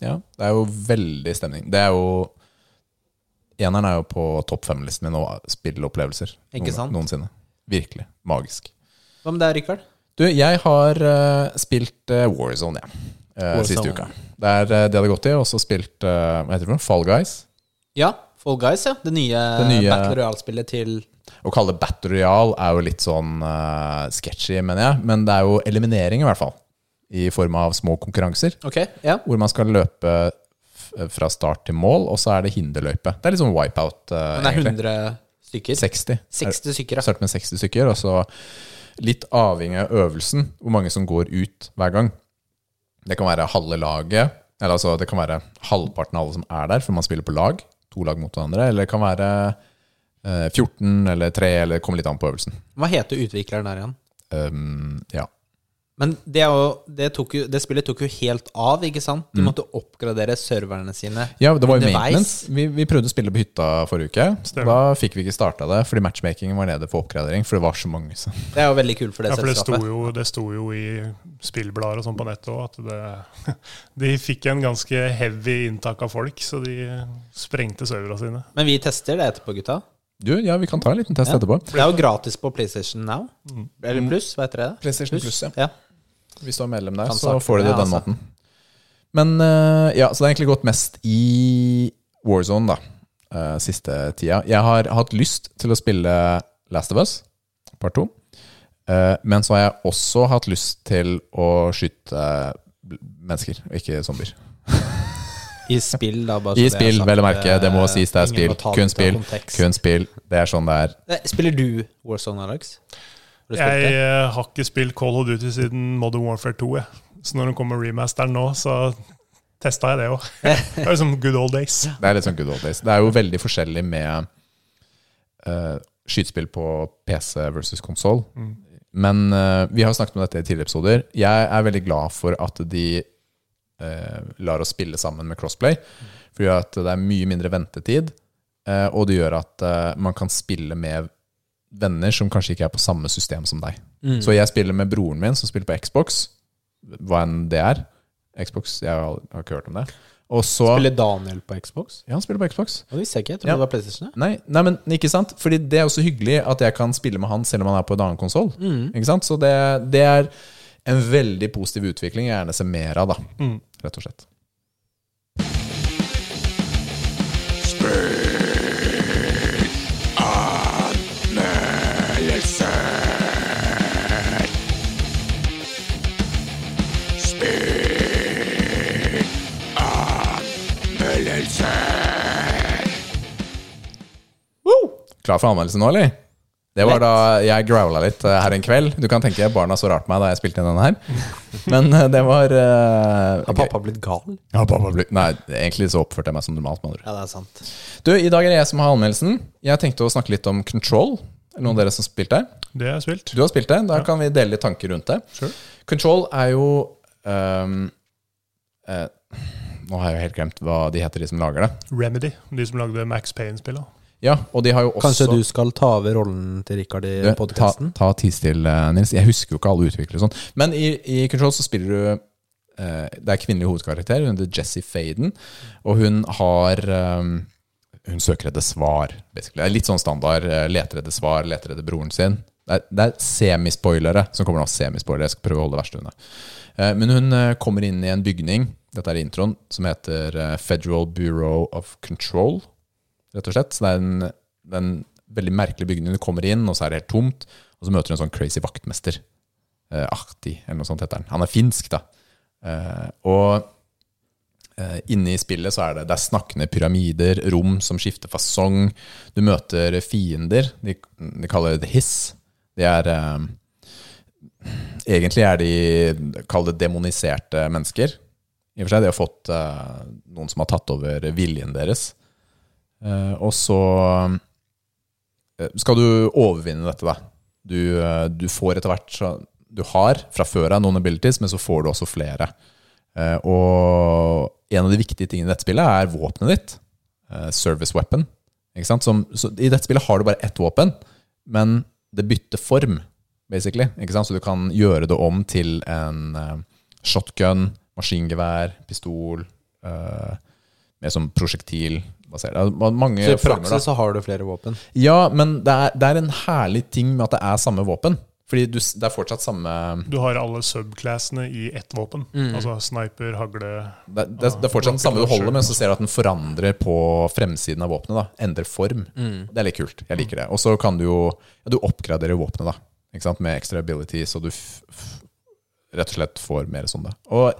Speaker 1: Ja, det er jo veldig stemning. Det er jo Eneren er jo på topp fem-listen min over spillopplevelser
Speaker 2: Ikke
Speaker 1: noen-
Speaker 2: sant?
Speaker 1: noensinne. Virkelig. Magisk.
Speaker 2: Hva med deg, Rikard?
Speaker 1: Du, jeg har eh, spilt eh, Warzone, jeg. eh,
Speaker 2: Warzone.
Speaker 1: Siste uka. Det er eh, det jeg hadde gått i. Og så spilt eh, hva heter det for noe? Fall Guys.
Speaker 2: Ja, Fall Guys, ja. Det nye,
Speaker 1: Det nye-
Speaker 2: Battle Royale-spillet til
Speaker 1: Å kalle det Battle Royale er jo litt sånn eh, sketchy, mener jeg. Men det er jo eliminering, i hvert fall. I form av små konkurranser.
Speaker 2: Ok, ja.
Speaker 1: hvor man skal løpe f- fra start til mål, og så er det hinderløype. Det er litt sånn wipeout, eh,
Speaker 2: Den er
Speaker 1: egentlig.
Speaker 2: 100 stykker.
Speaker 1: 60. Er-
Speaker 2: 60 stykker, altså. ja.
Speaker 1: Starter med 60 stykker, og så litt avhengig av øvelsen, hvor mange som går ut hver gang. Det kan være halve laget, eller altså det kan være halvparten av alle som er der, for man spiller på lag, to lag mot hverandre, eller det kan være eh, 14 eller 3, eller det kommer litt an på øvelsen.
Speaker 2: Hva heter utvikleren der igjen?
Speaker 1: Um, ja.
Speaker 2: Men det, er jo, det, tok jo, det spillet tok jo helt av, ikke sant?
Speaker 1: Mm.
Speaker 2: De måtte oppgradere serverne sine.
Speaker 1: Ja, det var jo
Speaker 2: Underveis.
Speaker 1: maintenance. Vi, vi prøvde å spille på hytta forrige uke. Da fikk vi ikke starta det, fordi matchmakingen var nede for oppgradering. For det var så mange som
Speaker 2: Det er jo veldig kult for det
Speaker 3: Ja, for det sto,
Speaker 2: selskapet.
Speaker 3: jo, det sto jo i spillblader og sånn på nettet òg at det, [LAUGHS] de fikk en ganske heavy inntak av folk, så de sprengte serverne sine.
Speaker 2: Men vi tester det etterpå, gutta.
Speaker 1: Du, ja, vi kan ta en liten test
Speaker 2: Ja.
Speaker 1: etterpå.
Speaker 2: Det er jo gratis på PlayStation Now.
Speaker 3: Mm.
Speaker 2: Eller pluss, hva heter det?
Speaker 1: PlayStation Mm. Plus, ja.
Speaker 2: ja.
Speaker 1: Hvis du er medlem der,
Speaker 2: Kan
Speaker 1: så
Speaker 2: starte
Speaker 1: får du det
Speaker 2: med,
Speaker 1: den
Speaker 2: altså.
Speaker 1: måten. Men eh, ja, så det har egentlig gått mest i Warzone, da. eh, siste tida. Jeg har hatt lyst til å spille Last of Us, part to. Eh, men så har jeg også hatt lyst til å skyte bl- mennesker, og ikke zombier.
Speaker 2: I spill, da. Bare så
Speaker 1: I
Speaker 2: det er
Speaker 1: spill,
Speaker 2: sagt.
Speaker 1: vel å merke. Det må
Speaker 2: Eh,
Speaker 1: sies det er
Speaker 2: ingen
Speaker 1: spill.
Speaker 2: må ta det
Speaker 1: Kun
Speaker 2: ut av
Speaker 1: spill.
Speaker 2: kontekst.
Speaker 1: Kun spill. Det er sånn det er.
Speaker 2: Nei, Spiller du Warzone, Alex? Har du spilt
Speaker 3: Jeg
Speaker 2: det?
Speaker 3: eh, har ikke spilt Call of Duty siden Modern Warfare 2. Jeg. Så når den kommer remasteren nå, så testa jeg det òg. Det er jo som good old days.
Speaker 1: Det er litt sånn good old days. Det er jo veldig forskjellig med eh, skytespill på PC versus konsoll. Men eh, vi har jo snakket om dette i tidligere episoder. Jeg er veldig glad for at de eh, lar oss spille sammen med crossplay. For det gjør at det er mye mindre ventetid, eh, og det gjør at eh, man kan spille med venner som kanskje ikke er på samme system som deg. Så jeg spiller med broren min, som spiller på Xbox, hva enn det er. Xbox, jeg har aldri- har ikke hørt om det. Og så,
Speaker 2: Spiller Daniel på Xbox?
Speaker 1: ja, han spiller på Xbox.
Speaker 2: Det visste jeg ikke. Jeg trodde
Speaker 1: Ja.
Speaker 2: det var PlayStation. ja.
Speaker 1: Nei, nei, men ikke sant? Fordi det er jo så hyggelig at jeg kan spille med han selv om han er på en annen konsoll. Ikke sant? Så det, det er en veldig positiv utvikling jeg gjerne ser mer av, da. Rett og slett. Klar for anmeldelse nå, eller? Det var da jeg growla litt eh, her en kveld. Du kan tenke barna så rart på meg da jeg spilte inn denne her. Men eh, det var eh,
Speaker 2: Har
Speaker 1: gøy.
Speaker 2: pappa blitt gal?
Speaker 1: Ja, pappa ble- Nei, egentlig så oppførte jeg meg som normalt. med andre ord.
Speaker 2: Ja, det er sant.
Speaker 1: Du, I dag er det jeg som har anmeldelsen. Jeg tenkte å snakke litt om Control. Er det noen av dere som spilte?
Speaker 3: Det har jeg spilt.
Speaker 1: Du har spilt det. Da kan vi dele litt tanker rundt det.
Speaker 3: Sure.
Speaker 1: Control er jo ehm, eh, Nå har jeg jo helt glemt hva de heter, de som lager det.
Speaker 3: Remedy, de som lagde Max Payne-spillet.
Speaker 1: Ja, og de har jo også
Speaker 2: Kanskje du skal ta over rollen til Rikard i
Speaker 1: Du, Eh, ta,
Speaker 2: podkasten?
Speaker 1: ta tid til, eh, Nils. Jeg husker jo ikke alle utviklere og sånn. Men i, i Control så spiller du eh, Det er kvinnelig hovedkarakter. Hun heter Jesse Faden. Og hun har eh, Hun søker etter svar, basically. Det er litt sånn standard. eh, leter etter svar, leter etter broren sin. Det er, det er semispoilere som kommer nå. Semispoilere. Jeg skal prøve å holde det verste unna. Eh, men hun eh, kommer inn i en bygning, dette er introen, som heter eh, Federal Bureau of Control rett og slett. Så det er en, det er en veldig merkelig bygning. Du kommer inn, og så er det helt tomt. Og så møter du en sånn crazy vaktmester. Eh, Ahti, eller noe sånt heter han. Han er finsk, da. Eh, og eh, inne i spillet så er det, det er snakkende pyramider, rom som skifter fasong. Du møter fiender. De, de kaller det hiss. De er eh, Egentlig er de Kall det demoniserte mennesker. I og for seg, De har fått eh, noen som har tatt over viljen deres. Eh, og så eh, skal du overvinne dette, da. Du, eh, du får etter hvert så- Du har fra før av noen abilities, men så får du også flere. Eh, og en av de viktige tingene i dette spillet er våpenet ditt. Eh, service weapon. Ikke sant? Som, så I dette spillet har du bare ett våpen, men det bytter form, basically. Ikke sant? Så du kan gjøre det om til en eh, shotgun, maskingevær, pistol eh, Med sånn prosjektil. basert- det er mange
Speaker 2: Så i
Speaker 1: former, da.
Speaker 2: praksis så har du flere våpen.
Speaker 1: Ja, men det er, det er en herlig ting med at det er samme våpen. Fordi du, s- det er fortsatt samme
Speaker 3: Du har alle subclassene i ett våpen. Altså sniper, hagle
Speaker 1: Det, det, det er fortsatt den samme du holder, men så ser du at den forandrer på fremsiden av våpenet. da Endrer form. Det er litt kult. Jeg liker det. Og så kan du jo ja, Du oppgraderer våpenet da Ikke sant? med extra ability, så du f f rett og slett får mer sånn. da Og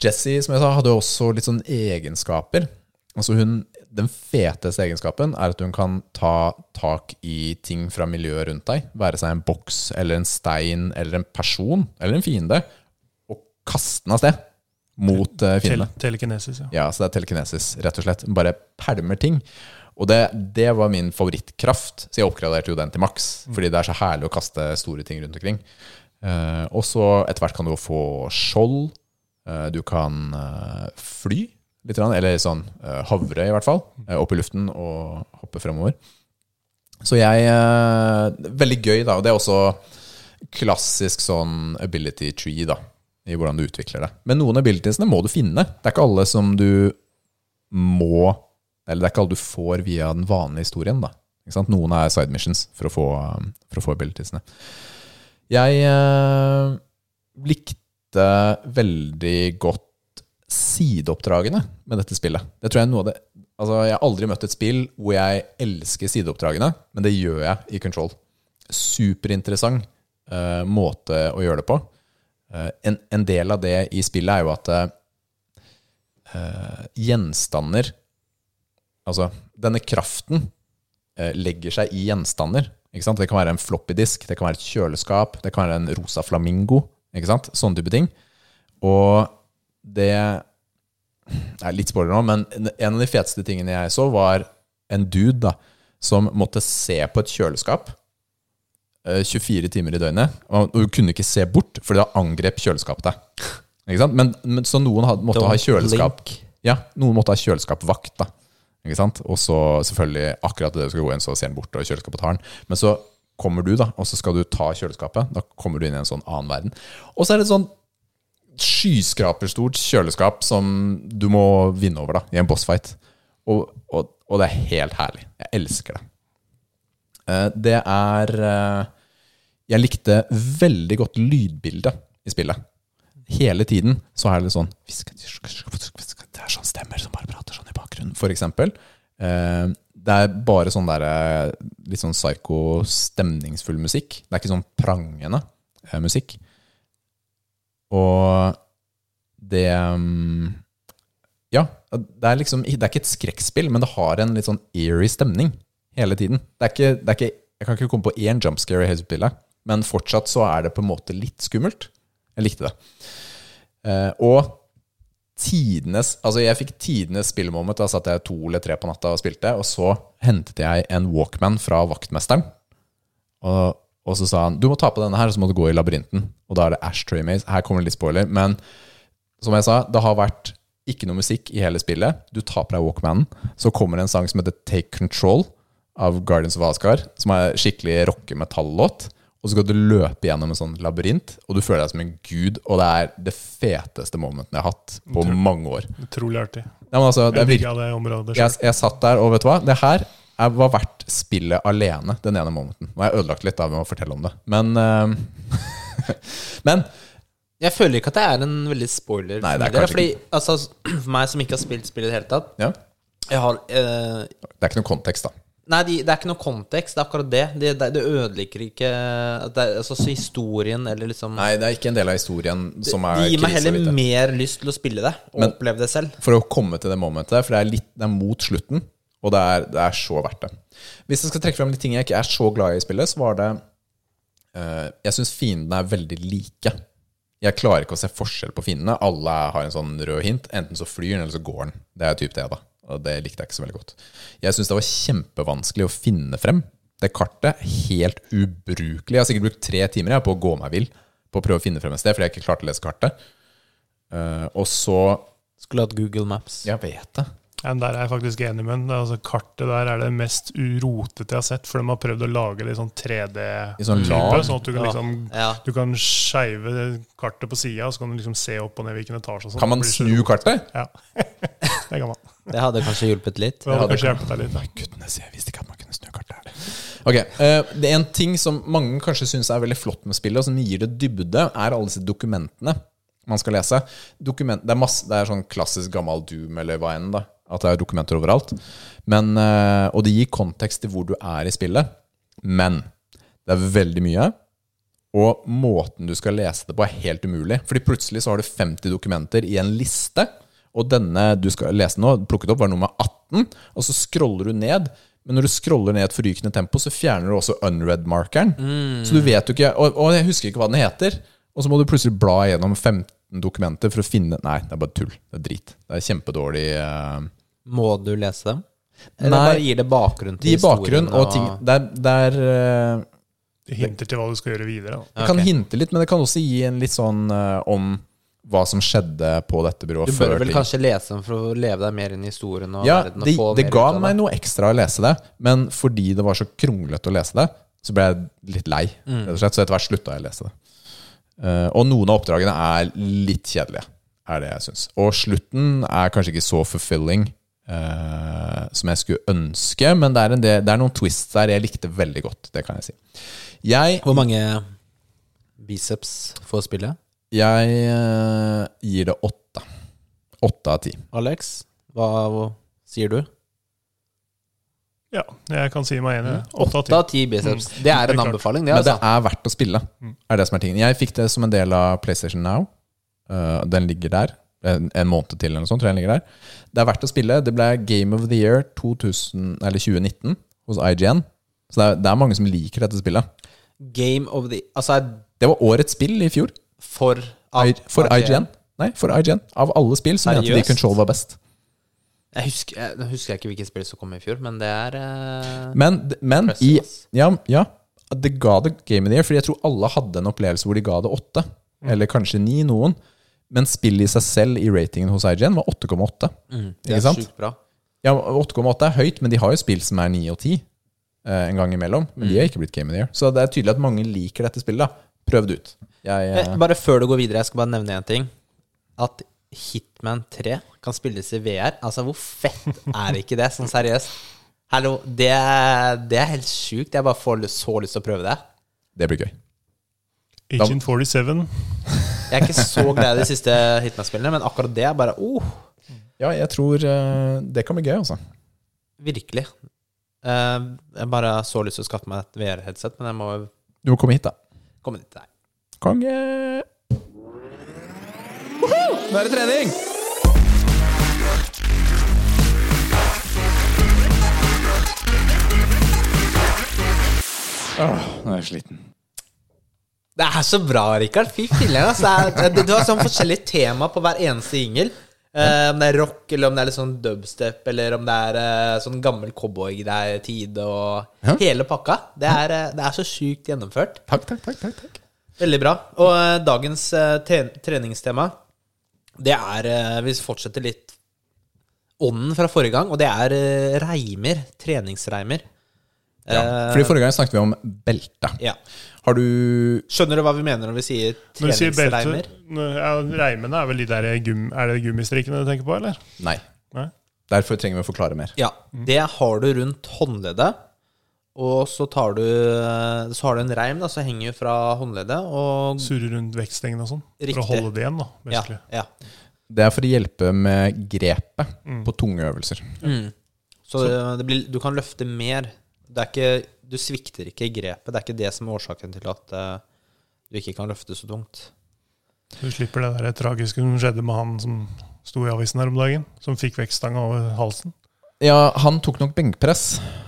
Speaker 1: Jesse, som jeg sa, hadde også litt sånn egenskaper. Altså hun, Den feteste egenskapen er at hun kan ta tak i ting fra miljøet rundt deg. Være seg en boks eller en stein eller en person eller en fiende. Og kaste den av sted mot eh,
Speaker 3: tel
Speaker 1: fiendene.
Speaker 3: telekinesis. Ja.
Speaker 1: Ja, så det er telekinesis, rett og slett. Bare pælmer ting. Og det, det var min favorittkraft, så jeg oppgraderte jo den til maks. Fordi det er så herlig å kaste store ting rundt omkring. Eh, og så etter hvert kan du jo få skjold. Eh, du kan eh, fly litt, grann, eller sånn eh, havre i hvert fall. eh, opp i luften og hoppe fremover. Så jeg eh, Veldig gøy, da. Og det er også klassisk sånn ability tree, da. I hvordan du utvikler det. Men noen abilitiesene må du finne. Det er ikke alle som du må Eller det er ikke alle du får via den vanlige historien, da. Ikke sant? Noen er side missions for å få, um, for å få abilitiesene. Jeg eh, likte veldig godt sideoppdragene med dette spillet. Det tror Jeg er noe av det Altså, jeg har aldri møtt et spill hvor jeg elsker sideoppdragene, men det gjør jeg i Control. Superinteressant eh, måte å gjøre det på. Eh, en, en del av det i spillet er jo at eh, gjenstander Altså, denne kraften eh, legger seg i gjenstander. Ikke sant? Det kan være en floppydisk, det kan være et kjøleskap, det kan være en rosa flamingo. Ikke sant? Sånne type ting. Og det er litt spoiler nå, men en av de feteste tingene jeg så, var en dude da, som måtte se på et kjøleskap eh, 24 timer i døgnet. Og og du kunne ikke se bort, for da angrep kjøleskapet deg. Ikke sant? Men, men, så noen hadde, måtte ha kjøleskap. Ja, noen måtte ha kjøleskapvakt, da. Ikke sant? Og så selvfølgelig, akkurat det du skal gå inn, så ser den bort, og kjøleskapet tar den. Men så kommer du, da, og så skal du ta kjøleskapet. Da kommer du inn i en sånn annen verden. Og så er det et sånn skyskraperstort kjøleskap som du må vinne over, da, i en bossfight. Og, og, og det er helt herlig. Jeg elsker det. Eh, Det er eh, Jeg likte veldig godt lydbildet i spillet. Hele tiden så er det litt sånn Det er sånn stemmer som bare prater sånn i bakgrunnen, for eksempel. Eh, Det er bare sånn der eh, litt sånn psyko, stemningsfull musikk. Det er ikke sånn prangende eh, musikk. Og det um, Ja, det er liksom Det er ikke et skrekkspill, men det har en litt sånn eerie stemning hele tiden. Det er ikke, det er ikke Jeg kan ikke komme på én jumpscare i hele spillet, men fortsatt så er det på en måte litt skummelt. Jeg likte det. Eh, og tidenes Altså, jeg fikk tidenes spillmoment. Da satt jeg to eller tre på natta og spilte, og så hentet jeg en Walkman fra vaktmesteren. Og, og så sa han du må ta på denne her, og så må du gå i labyrinten. Og da er det Ashtray Maze. Her kommer det litt spoiler. Men som jeg sa, det har vært ikke noe musikk i hele spillet. Du tar på deg Walkmanen. Så kommer det en sang som heter Take Control av Guardians of Asgard, som er skikkelig rockemetallåt. Og så skal du løpe gjennom en sånn labyrint, og du føler deg som en gud. Og det er det feteste momenten jeg har hatt på mange år.
Speaker 3: Utrolig artig.
Speaker 1: Nei, men altså, det
Speaker 3: Jeg
Speaker 1: er virkelig
Speaker 3: digga det området selv.
Speaker 1: jeg, jeg satt der, og vet du hva? Det her er, var verdt spillet alene den ene måneden. Nå har jeg ødelagt litt av med å fortelle om det. Men, eh, [LAUGHS] men
Speaker 2: Jeg føler ikke at det er en veldig spoiler.
Speaker 1: Nei, det er
Speaker 2: for meg,
Speaker 1: kanskje
Speaker 2: fordi, altså, [CLEARS THROAT] For meg som ikke har spilt spillet i det hele tatt
Speaker 1: ja,
Speaker 2: Jeg har eh,
Speaker 1: det er ikke noen kontekst, da.
Speaker 2: Nei, de, det er ikke noe kontekst. Det er akkurat det. Det, det, det ødelegger ikke at det er, altså, så historien eller liksom
Speaker 1: Nei, det er ikke en del av historien som er
Speaker 2: Det gir meg
Speaker 1: krise,
Speaker 2: heller
Speaker 1: vet jeg.
Speaker 2: mer lyst til å spille det og
Speaker 1: Men-
Speaker 2: oppleve det selv.
Speaker 1: For å komme til det momentet der, for det er, litt, det er mot slutten, og det er, det er så verdt det. Hvis jeg skal trekke frem de ting jeg ikke er så glad i i spillet, så var det eh, Jeg syns fiendene er veldig like. Jeg klarer ikke å se forskjell på fiendene. Alle har en sånn rød hint. Enten så flyr den, eller så går den. Det er typ det, da. Og det likte jeg ikke så veldig godt. Jeg syns det var kjempevanskelig å finne frem. Det kartet helt ubrukelig. Jeg har sikkert brukt tre timer jeg, på å gå meg vill på å prøve å finne frem et sted, fordi jeg ikke klarte å lese kartet. Eh, og så
Speaker 2: Skulle hatt Google Maps.
Speaker 1: Jeg vet det.
Speaker 3: Ja, men der er jeg faktisk enig med den. Altså, kartet der er det mest urotete jeg har sett, for de har prøvd å lage litt sånn 3D
Speaker 1: I sånn
Speaker 3: type,
Speaker 1: lag.
Speaker 3: sånn at du kan liksom
Speaker 2: Ja.
Speaker 3: Du kan skeive kartet på sida, så kan du liksom se opp og ned hvilken etasje. og sånt.
Speaker 1: Kan man
Speaker 3: Det blir så-
Speaker 1: snu kartet?
Speaker 3: Ja, det kan man.
Speaker 2: Det hadde kanskje hjulpet litt.
Speaker 3: Det hadde
Speaker 1: det
Speaker 3: kanskje hjulpet deg litt. da.
Speaker 1: Gudnes, jeg visste ikke at man kunne snu kartet her. Ok, eh, Det er en ting som mange kanskje syns er veldig flott med spillet, og som gir det dybde, er alle disse dokumentene man skal lese. Dokument, det, er masse, det er sånn klassisk gammel Doom eller hva enn, da. At det er dokumenter overalt. Men, eh, og det gir kontekst til hvor du er i spillet. Men det er veldig mye. Og måten du skal lese det på, er helt umulig. Fordi plutselig så har du 50 dokumenter i en liste, og denne du skal lese nå, plukket opp, var nummer 18, og så scroller du ned. Men når du scroller ned i et forrykende tempo, så fjerner du også unread-markeren. Så du vet jo ikke og, og jeg husker ikke hva den heter. Og så må du plutselig bla gjennom 15 dokumenter for å finne Nei, det er bare tull. Det er drit. Det er kjempedårlig eh,
Speaker 2: Må du lese dem? Eller
Speaker 1: Nei.
Speaker 2: bare gir det bakgrunn til
Speaker 1: Det gir bakgrunn og ting Det er, det er eh,
Speaker 3: Det hinter til hva du skal gjøre videre. Da.
Speaker 1: Det kan
Speaker 2: Ok.
Speaker 1: hinte litt, men det kan også gi en litt sånn eh, om hva som skjedde på dette byrået
Speaker 2: Du bør
Speaker 1: før
Speaker 2: vel
Speaker 1: ting.
Speaker 2: kanskje lese dem for å leve deg mer inn i historien og
Speaker 1: Ja,
Speaker 2: verden og
Speaker 1: det,
Speaker 2: få
Speaker 1: det
Speaker 2: mer
Speaker 1: ga
Speaker 2: ut av
Speaker 1: meg noe ekstra å lese det, men fordi det var så kronglete å lese det, så ble jeg litt lei,
Speaker 2: Mm.
Speaker 1: rett og slett. Så etter hvert slutta jeg å lese det. Eh, og noen av oppdragene er litt kjedelige, er det jeg syns. Og slutten er kanskje ikke så fulfilling eh, som jeg skulle ønske, men det er, en del, det er noen twists der jeg likte veldig godt, det kan jeg si. Jeg
Speaker 2: Hvor mange biceps får spillet?
Speaker 1: Jeg eh, gir det åtte. Åtte av ti.
Speaker 2: Alex, hva, hva sier du?
Speaker 3: Ja, jeg kan si meg enig i det. Åtte av
Speaker 2: Åtte
Speaker 3: ti.
Speaker 2: av ti biceps. Det er en
Speaker 3: Det er klart.
Speaker 2: anbefaling, det,
Speaker 1: Mm. Men det
Speaker 2: altså. Mm.
Speaker 1: er verdt å spille. Er det som er tingen. Jeg fikk det som en del av PlayStation Now. Eh, den ligger der. En, en måned til eller noe sånt. Tror jeg den ligger der. Det er verdt å spille. Det ble Game of the Year 2000, eller 2019 hos IGN. Så det er, det er mange som liker dette spillet.
Speaker 2: Game of the Altså er
Speaker 1: Det var årets spill i fjor.
Speaker 2: for
Speaker 1: I, for IGN. Nei, for IGN. Av alle spill så mente de
Speaker 2: Seriøst?
Speaker 1: Control var best.
Speaker 2: Jeg husker, jeg, nå husker jeg ikke hvilket spill som kom i fjor, men det er eh,
Speaker 1: Men, men i
Speaker 2: Impressive, ass.
Speaker 1: ja, ja, det ga det Game of the Year, fordi jeg tror alle hadde en opplevelse hvor de ga det åtte.
Speaker 2: Mm.
Speaker 1: Eller kanskje ni, noen. Men spillet i seg selv i ratingen hos IGN var 8,8.
Speaker 2: Mm. det
Speaker 1: Ikke
Speaker 2: er
Speaker 1: sant?
Speaker 2: sjukt bra.
Speaker 1: Ja, 8,8 er høyt, men de har jo spill som er 9 og 10 eh, en gang imellom. Men
Speaker 2: Mm.
Speaker 1: de har ikke blitt Game of the Year. Så det er tydelig at mange liker dette spillet. da. Prøv det ut. Jeg,
Speaker 2: Eh,
Speaker 1: eh,
Speaker 2: Bare før du går videre, jeg skal bare nevne én ting. At Hitman 3 kan spilles i VR. Altså, hvor fett er ikke det? Sånn seriøst. Hallo, det, er- det er helt sjukt. Jeg bare får lyst- så lyst til å prøve det.
Speaker 1: det blir gøy.
Speaker 3: Agent 47.
Speaker 2: Jeg er ikke så glad i de siste Hitman-spillene, men akkurat det er bare oh,
Speaker 1: Ja, jeg tror eh, det kan bli gøy, altså.
Speaker 2: virkelig. Eh, jeg bare har så lyst til å skaffe meg et VR-headset, men jeg må jo
Speaker 1: Du må komme hit, da.
Speaker 2: komme dit. Nei.
Speaker 1: Konge! Nå er det trening! Åh, nå er jeg sliten.
Speaker 2: Det er så bra, Rikard. Fy filler'n. Altså. Det er- Du, du har sånn forskjellige tema på hver eneste jingle. Eh, om det er rock, eller om det er litt sånn dubstep, eller om det er eh, sånn gammel cowboy-tid og
Speaker 1: Ja.
Speaker 2: hele pakka. Det er, eh, det er så sjukt gjennomført.
Speaker 1: Takk, takk, takk. takk, takk.
Speaker 2: Veldig bra. Og eh, dagens eh, tre- treningstema, det er eh, Vi fortsetter litt ånden fra forrige gang, og det er eh, reimer. Treningsreimer.
Speaker 1: Ja,
Speaker 2: Eh,
Speaker 1: fordi Forrige gang snakket vi om belte.
Speaker 2: ja.
Speaker 1: Har du
Speaker 2: Skjønner du hva vi mener når vi sier
Speaker 3: Når du sier belte,
Speaker 2: treningsreimer?
Speaker 3: ja, reimene er vel de der gum, er det gummistrikkene du tenker på, eller?
Speaker 1: Nei.
Speaker 3: Nei?
Speaker 1: Derfor trenger vi å forklare mer.
Speaker 2: Ja, det har du rundt håndleddet. Og så, tar du, så har du en reim da, som henger fra håndleddet. Og,
Speaker 3: Surre rundt vektstengene og sånn? For
Speaker 2: Riktig.
Speaker 3: å holde det igjen, da.
Speaker 2: ja,
Speaker 3: basically.
Speaker 2: ja.
Speaker 1: Det er for å hjelpe med grepet på tunge øvelser.
Speaker 2: Så det blir, du kan løfte mer. Det er ikke, du svikter ikke i grepet. Det er ikke det som er årsaken til at eh, du ikke kan løfte så tungt.
Speaker 3: Du slipper det der tragiske som skjedde med han som sto i avisen her om dagen. Som fikk vektstanga over halsen.
Speaker 1: Ja, han tok nok benkpress.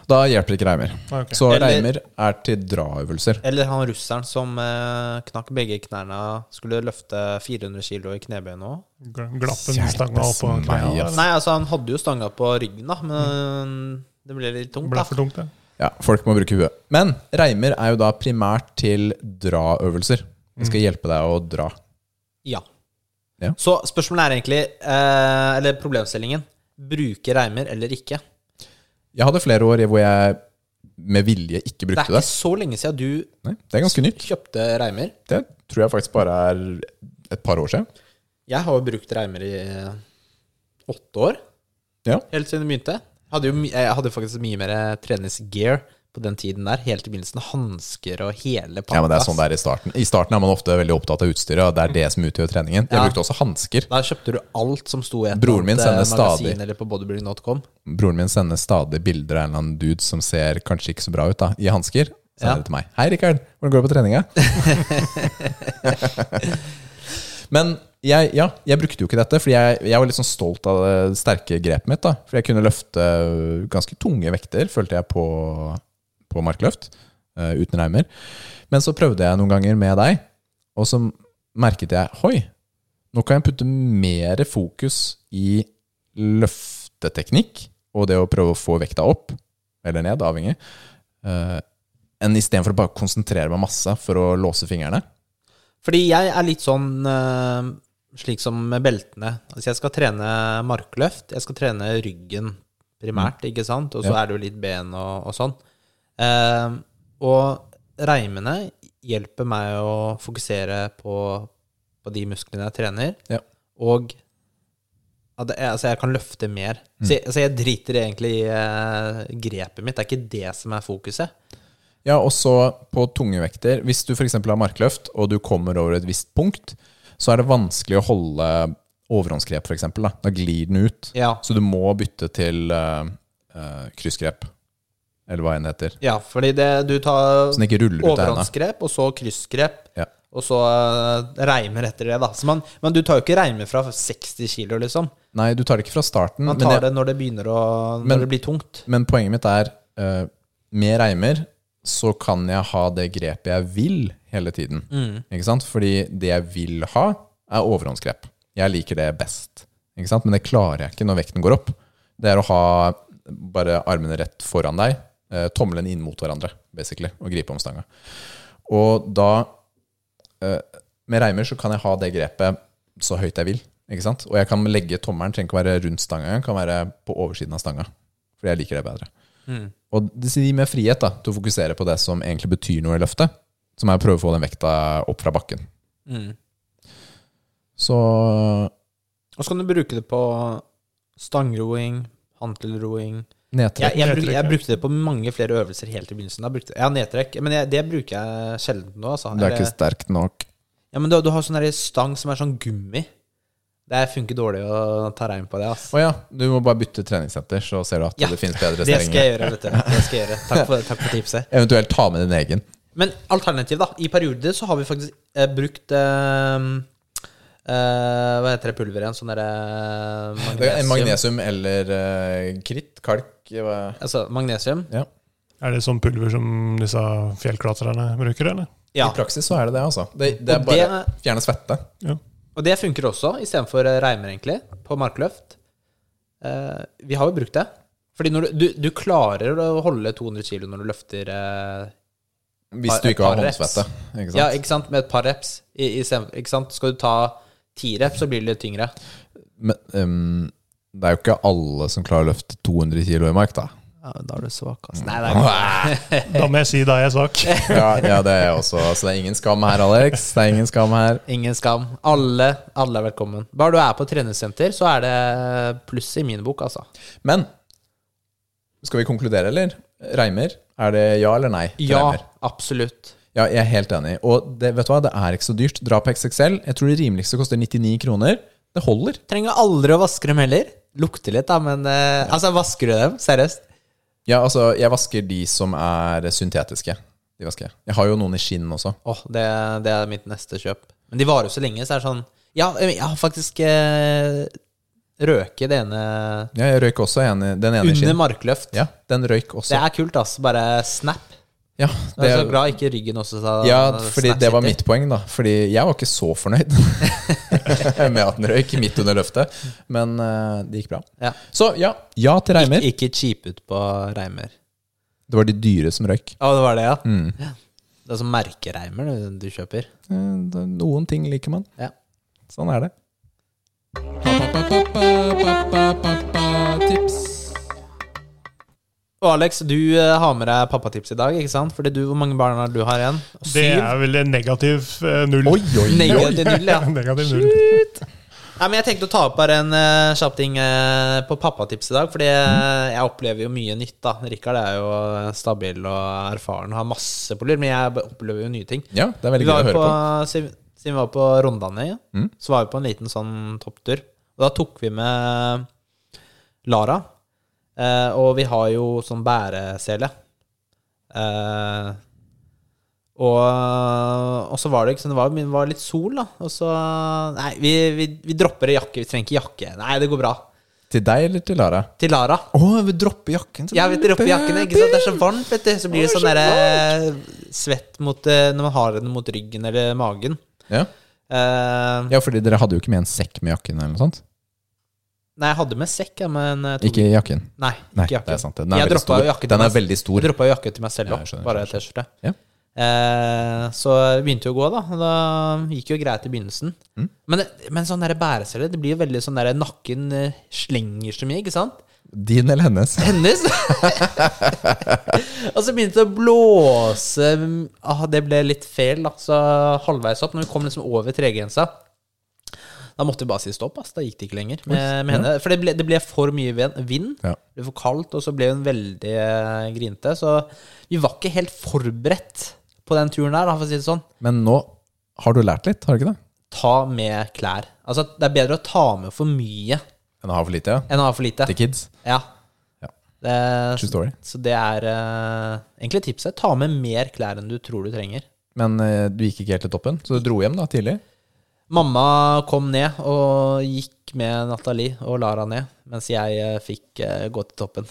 Speaker 1: Da hjelper ikke reimer.
Speaker 3: Ah, ok.
Speaker 1: Så
Speaker 2: Eller-
Speaker 1: reimer er til draøvelser.
Speaker 2: Eller han russeren som eh, knakk begge knærne, skulle løfte 400 kilo i knebøyene òg.
Speaker 3: Gl- Glappen
Speaker 1: Hjelpes
Speaker 3: stanga opp og
Speaker 1: meg,
Speaker 3: knærne.
Speaker 1: ass.
Speaker 2: Nei, altså, han hadde jo stanga på ryggen, da, men det ble litt tungt.
Speaker 3: Mm. Ble
Speaker 2: da.
Speaker 3: for tungt, det.
Speaker 1: Ja, folk må bruke huet. Men reimer er jo da primært til draøvelser. Det skal hjelpe deg å dra.
Speaker 2: Ja.
Speaker 1: Ja.
Speaker 2: Så spørsmålet er egentlig, eh, eller problemstillingen, bruke reimer eller ikke?
Speaker 1: Jeg hadde flere år i hvor jeg med vilje ikke
Speaker 2: Det er
Speaker 1: brukte
Speaker 2: ikke
Speaker 1: det.
Speaker 2: så lenge siden du
Speaker 1: Nei, det er ganske nytt.
Speaker 2: kjøpte reimer.
Speaker 1: Det tror jeg faktisk bare er et par år siden.
Speaker 2: Jeg har jo brukt reimer i eh, åtte år,
Speaker 1: Ja.
Speaker 2: helt siden det begynte. Hadde jo, my- eh, jeg hadde faktisk mye mer eh, treningsgear på den tiden der, helt i begynnelsen. Hansker og hele pakka.
Speaker 1: Ja, men det er sånn det er I starten I starten er man ofte veldig opptatt av utstyret, og det er det som utgjør treningen. Jeg
Speaker 2: Ja.
Speaker 1: brukte også hansker.
Speaker 2: Da kjøpte du alt som sto i et
Speaker 1: Broren min
Speaker 2: eller annet, eh,
Speaker 1: sender stadig.
Speaker 2: magasin eller på bodybuilding.com.
Speaker 1: Broren min sender stadig bilder av en eller annen dude som ser kanskje ikke så bra ut, da, i hansker. Så
Speaker 2: Ja.
Speaker 1: er det til meg. Hei, Rikard. Hvordan går det på treninga? Men jeg, ja, jeg brukte jo ikke dette, fordi jeg, jeg var litt sånn stolt av det sterke grepet mitt. da For jeg kunne løfte ganske tunge vekter, følte jeg, på, på markløft. eh, uten reimer. Men så prøvde jeg noen ganger med deg, og så merket jeg Hoi, nå kan jeg putte mer fokus i løfteteknikk og det å prøve å få vekta opp, eller ned, avhengig, eh, enn istedenfor å bare konsentrere meg masse for å låse fingrene.
Speaker 2: Fordi jeg er litt sånn eh, slik som med beltene. Altså jeg skal trene markløft, jeg skal trene ryggen primært, ikke sant? Og så
Speaker 1: Mm. Ja.
Speaker 2: er det jo litt ben og, og sånn. Eh, og reimene hjelper meg å fokusere på, på de musklene jeg trener,
Speaker 1: Ja.
Speaker 2: og at jeg, altså jeg kan løfte mer.
Speaker 1: Mm.
Speaker 2: Så, jeg, så jeg driter egentlig i eh, grepet mitt, det er ikke det som er fokuset.
Speaker 1: Ja, og så på tunge vekter. Hvis du f.eks. har markløft, og du kommer over et visst punkt, så er det vanskelig å holde overhåndsgrep, f.eks. Da. da glir den ut.
Speaker 2: Ja.
Speaker 1: Så du må bytte til eh, eh, kryssgrep, eller hva enn det heter.
Speaker 2: ja, fordi det, du tar
Speaker 1: Så den ikke ruller ut av henda.
Speaker 2: overhåndsgrep, og så kryssgrep,
Speaker 1: Ja.
Speaker 2: og så eh, reimer etter det, da. Så man, men du tar jo ikke reimer fra 60 kilo, liksom.
Speaker 1: Nei, du tar det ikke fra starten.
Speaker 2: Man
Speaker 1: men
Speaker 2: tar
Speaker 1: jeg-
Speaker 2: det når det begynner å Når
Speaker 1: Men-
Speaker 2: det blir tungt.
Speaker 1: Men poenget mitt er eh, Med reimer så kan jeg ha det grepet jeg vil hele tiden. Ikke sant? Fordi det jeg vil ha, er overhåndsgrep. Jeg liker det best. Ikke sant? Men det klarer jeg ikke når vekten går opp. Det er å ha bare armene rett foran deg, eh, tommelen inn mot hverandre, basically, og gripe om stanga. Og da eh, Med reimer så kan jeg ha det grepet så høyt jeg vil. Ikke sant? Og jeg kan legge tommelen, trenger ikke å være rundt stanga, engang, kan være på oversiden av stanga. Fordi jeg liker det bedre. Og det gir mer frihet da, til å fokusere på det som egentlig betyr noe i løftet. Som er å prøve å få den vekta opp fra bakken. Så
Speaker 2: Og så kan du bruke det på stangroing, hantelroing jeg,
Speaker 1: nedtrekk.
Speaker 2: jeg,
Speaker 3: Nedtrekk,
Speaker 2: bruk, jeg
Speaker 3: ja.
Speaker 2: brukte det på mange flere øvelser helt i begynnelsen. Jeg brukte, ja, nedtrekk. Men jeg, det bruker jeg sjelden nå. Altså.
Speaker 1: Du er ikke
Speaker 2: Eller-
Speaker 1: sterk nok.
Speaker 2: ja, men du, du har sånn der stang som er sånn gummi. Det funker dårlig å ta regn på det. ass.
Speaker 1: Å ja, du må bare bytte treningssenter, så ser du at
Speaker 2: Ja,
Speaker 1: det finnes bedre
Speaker 2: Det skal
Speaker 1: steringer.
Speaker 2: jeg gjøre. vet du. Det skal jeg gjøre. Takk for, takk for tipset.
Speaker 1: Eventuelt ta med din egen.
Speaker 2: Men alternativ, da. I perioder så har vi faktisk eh, brukt eh, eh, Hva heter det pulveret igjen? Sånn derre
Speaker 1: Det er en
Speaker 2: magnesium.
Speaker 1: magnesium eller eh, kritt, kalk hva-
Speaker 2: Altså magnesium.
Speaker 1: ja.
Speaker 3: Er det sånn pulver som disse fjellklatrerne bruker, eller?
Speaker 1: I
Speaker 2: Ja.
Speaker 1: praksis så er det det, altså. Det, det er
Speaker 2: Og
Speaker 1: bare
Speaker 2: det-
Speaker 1: fjerne svette.
Speaker 3: Ja.
Speaker 2: Og det funker også, istedenfor eh, reimer, egentlig, på markløft. Eh, vi har jo brukt det. Fordi når du, du, du klarer å holde 200 kg når du løfter eh,
Speaker 1: Hvis
Speaker 2: Par-
Speaker 1: du ikke har
Speaker 2: par reps.
Speaker 1: håndsvette. Ikke sant?
Speaker 2: Ja, ikke sant? med et par reps. I, i stedet- ikke sant? Skal du ta ti reps, så blir det litt tyngre.
Speaker 1: Men ehm, det er jo ikke alle som klarer å løfte 200 kilo i mark, da.
Speaker 2: Ja, da er du svak, altså. Nei, det er ikke
Speaker 3: Da må jeg si da er jeg svak.
Speaker 2: Eh,
Speaker 1: Ja, ja det er jeg også. Så det er ingen skam her, Alex. Det er ingen skam her.
Speaker 2: Ingen skam. Alle, alle er velkommen. Bare du er på treningssenter, så er det pluss i min bok, altså.
Speaker 1: Men skal vi konkludere, eller? Reimer? Er det ja eller nei? til
Speaker 2: Ja,
Speaker 1: Reimer?
Speaker 2: absolutt.
Speaker 1: ja. Jeg er helt enig. Og det, vet du hva, det er ikke så dyrt. Dra på XXL. Jeg tror det rimeligste koster 99 kroner. Det holder.
Speaker 2: Trenger aldri å vaske dem heller. Lukter litt, da, men eh, Altså, vasker du dem? Seriøst?
Speaker 1: Ja, altså, jeg vasker de som er syntetiske. De vasker jeg. Jeg har jo noen i skinn også.
Speaker 2: Åh, det, det er mitt neste kjøp. Men de varer jo så lenge, så er det sånn Ja, jeg har faktisk eh, røket det ene
Speaker 1: Ja, jeg røyk også en, i- den ene i
Speaker 2: under
Speaker 1: skinn.
Speaker 2: markløft.
Speaker 1: Ja, den røyk også.
Speaker 2: Det er Altså, kult, ass. Bare snap.
Speaker 1: Ja,
Speaker 2: Det er så bra ikke ryggen også sa
Speaker 1: Ja, fordi
Speaker 2: snap
Speaker 1: det var
Speaker 2: sitter.
Speaker 1: mitt poeng, da. Fordi jeg var ikke så fornøyd [LAUGHS] med at den røyk midt under løftet. Men eh, det gikk bra.
Speaker 2: Ja.
Speaker 1: Så ja, ja til reimer.
Speaker 2: Ikke cheap ut på reimer.
Speaker 1: Det var de dyre som røyk.
Speaker 2: Å, det var det, ja?
Speaker 1: Mm.
Speaker 2: Ja. Det er sånn merkereimer du, du kjøper.
Speaker 1: Eh, det- Noen ting liker man.
Speaker 2: Ja.
Speaker 1: Sånn er det. Tips.
Speaker 2: Og Alex, du eh, har med deg pappatips i dag, ikke sant? Fordi du, Hvor mange barn har du har igjen?
Speaker 3: Det er vel en negativ eh, null.
Speaker 1: Oi, oi, oi.
Speaker 2: Negativ null, ja.
Speaker 3: [LAUGHS] negativ null.
Speaker 2: Nei, men Jeg tenkte å ta opp bare en eh, kjapp ting eh, på pappatips i dag. Fordi
Speaker 1: Mm.
Speaker 2: eh, jeg opplever jo mye nytt. da Rikard er jo eh, stabil og erfaren, har masse på lur, men jeg b- opplever jo nye ting.
Speaker 1: Ja, det er
Speaker 2: Vi
Speaker 1: veldig gøy
Speaker 2: var
Speaker 1: å
Speaker 2: jo
Speaker 1: høre
Speaker 2: på,
Speaker 1: på. Mm.
Speaker 2: siden siden vi var på Rondane, ja, så var vi på en liten sånn topptur. Og da tok vi med Lara. Eh, og vi har jo sånn bæresele. Eh, og, og så var det ikke sånn, det var, det var litt sol, da. Og så Nei, vi, vi, vi dropper jakke. Vi trenger ikke jakke. Nei, det går bra.
Speaker 1: Til deg eller til Lara?
Speaker 2: Til Lara.
Speaker 1: Å, vi dropper jakken.
Speaker 2: Ja, vi dropper jakken. Ikke sant? Det er så varmt, vet du. Så blir det sånn derre svett mot, eh, når man har den mot ryggen eller magen.
Speaker 1: Ja.
Speaker 2: Eh,
Speaker 1: ja, fordi dere hadde jo ikke med en sekk med jakken eller noe sånt.
Speaker 2: Nei, jeg hadde med sekk, ja, men jeg tok-
Speaker 1: Ikke jakken.
Speaker 2: Nei,
Speaker 1: Nei,
Speaker 2: ikke jakke.
Speaker 1: det er sant. Den er
Speaker 2: jeg
Speaker 1: veldig
Speaker 2: droppa
Speaker 1: stor.
Speaker 2: jo jakke til
Speaker 1: Den er
Speaker 2: meg-
Speaker 1: veldig stor.
Speaker 2: Jeg droppa jo jakke til meg selv
Speaker 1: Ja,
Speaker 2: òg,
Speaker 1: jeg skjønner,
Speaker 2: bare
Speaker 1: skjønner,
Speaker 2: T-skjorte.
Speaker 1: Ja.
Speaker 2: Eh, så det begynte jo å gå, da. Da gikk jo greit i begynnelsen.
Speaker 1: Mm.
Speaker 2: Men, det- men sånn der bæresele, det blir jo veldig sånn der nakken eh, slenger så mye, ikke sant?
Speaker 1: Din eller hennes?
Speaker 2: Hennes! [LAUGHS] og så begynte det å blåse. Ah, det ble litt feil, da. Så halvveis opp, når vi kom liksom over tregrensa da måtte vi bare si stopp. ass. Da gikk det ikke lenger. Med, med henne. For det ble, det ble for mye ven- vind.
Speaker 1: Ja.
Speaker 2: Det ble for kaldt, og så ble hun veldig eh, grinte. Så vi var ikke helt forberedt på den turen der, da, for å si det sånn.
Speaker 1: Men nå har du lært litt, har du ikke det?
Speaker 2: ta med klær. Altså, det er bedre å ta med for mye
Speaker 1: En har for lite, ja.
Speaker 2: enn å ha for lite.
Speaker 1: Til kids.
Speaker 2: Ja.
Speaker 1: Ja.
Speaker 2: Det,
Speaker 1: True story.
Speaker 2: så det er eh, egentlig tipset. Ta med mer klær enn du tror du trenger.
Speaker 1: Men eh, du gikk ikke helt til toppen, så du dro hjem da tidlig.
Speaker 2: Mamma kom ned og gikk med Nathalie og Lara ned, mens jeg eh, fikk eh, gå til toppen.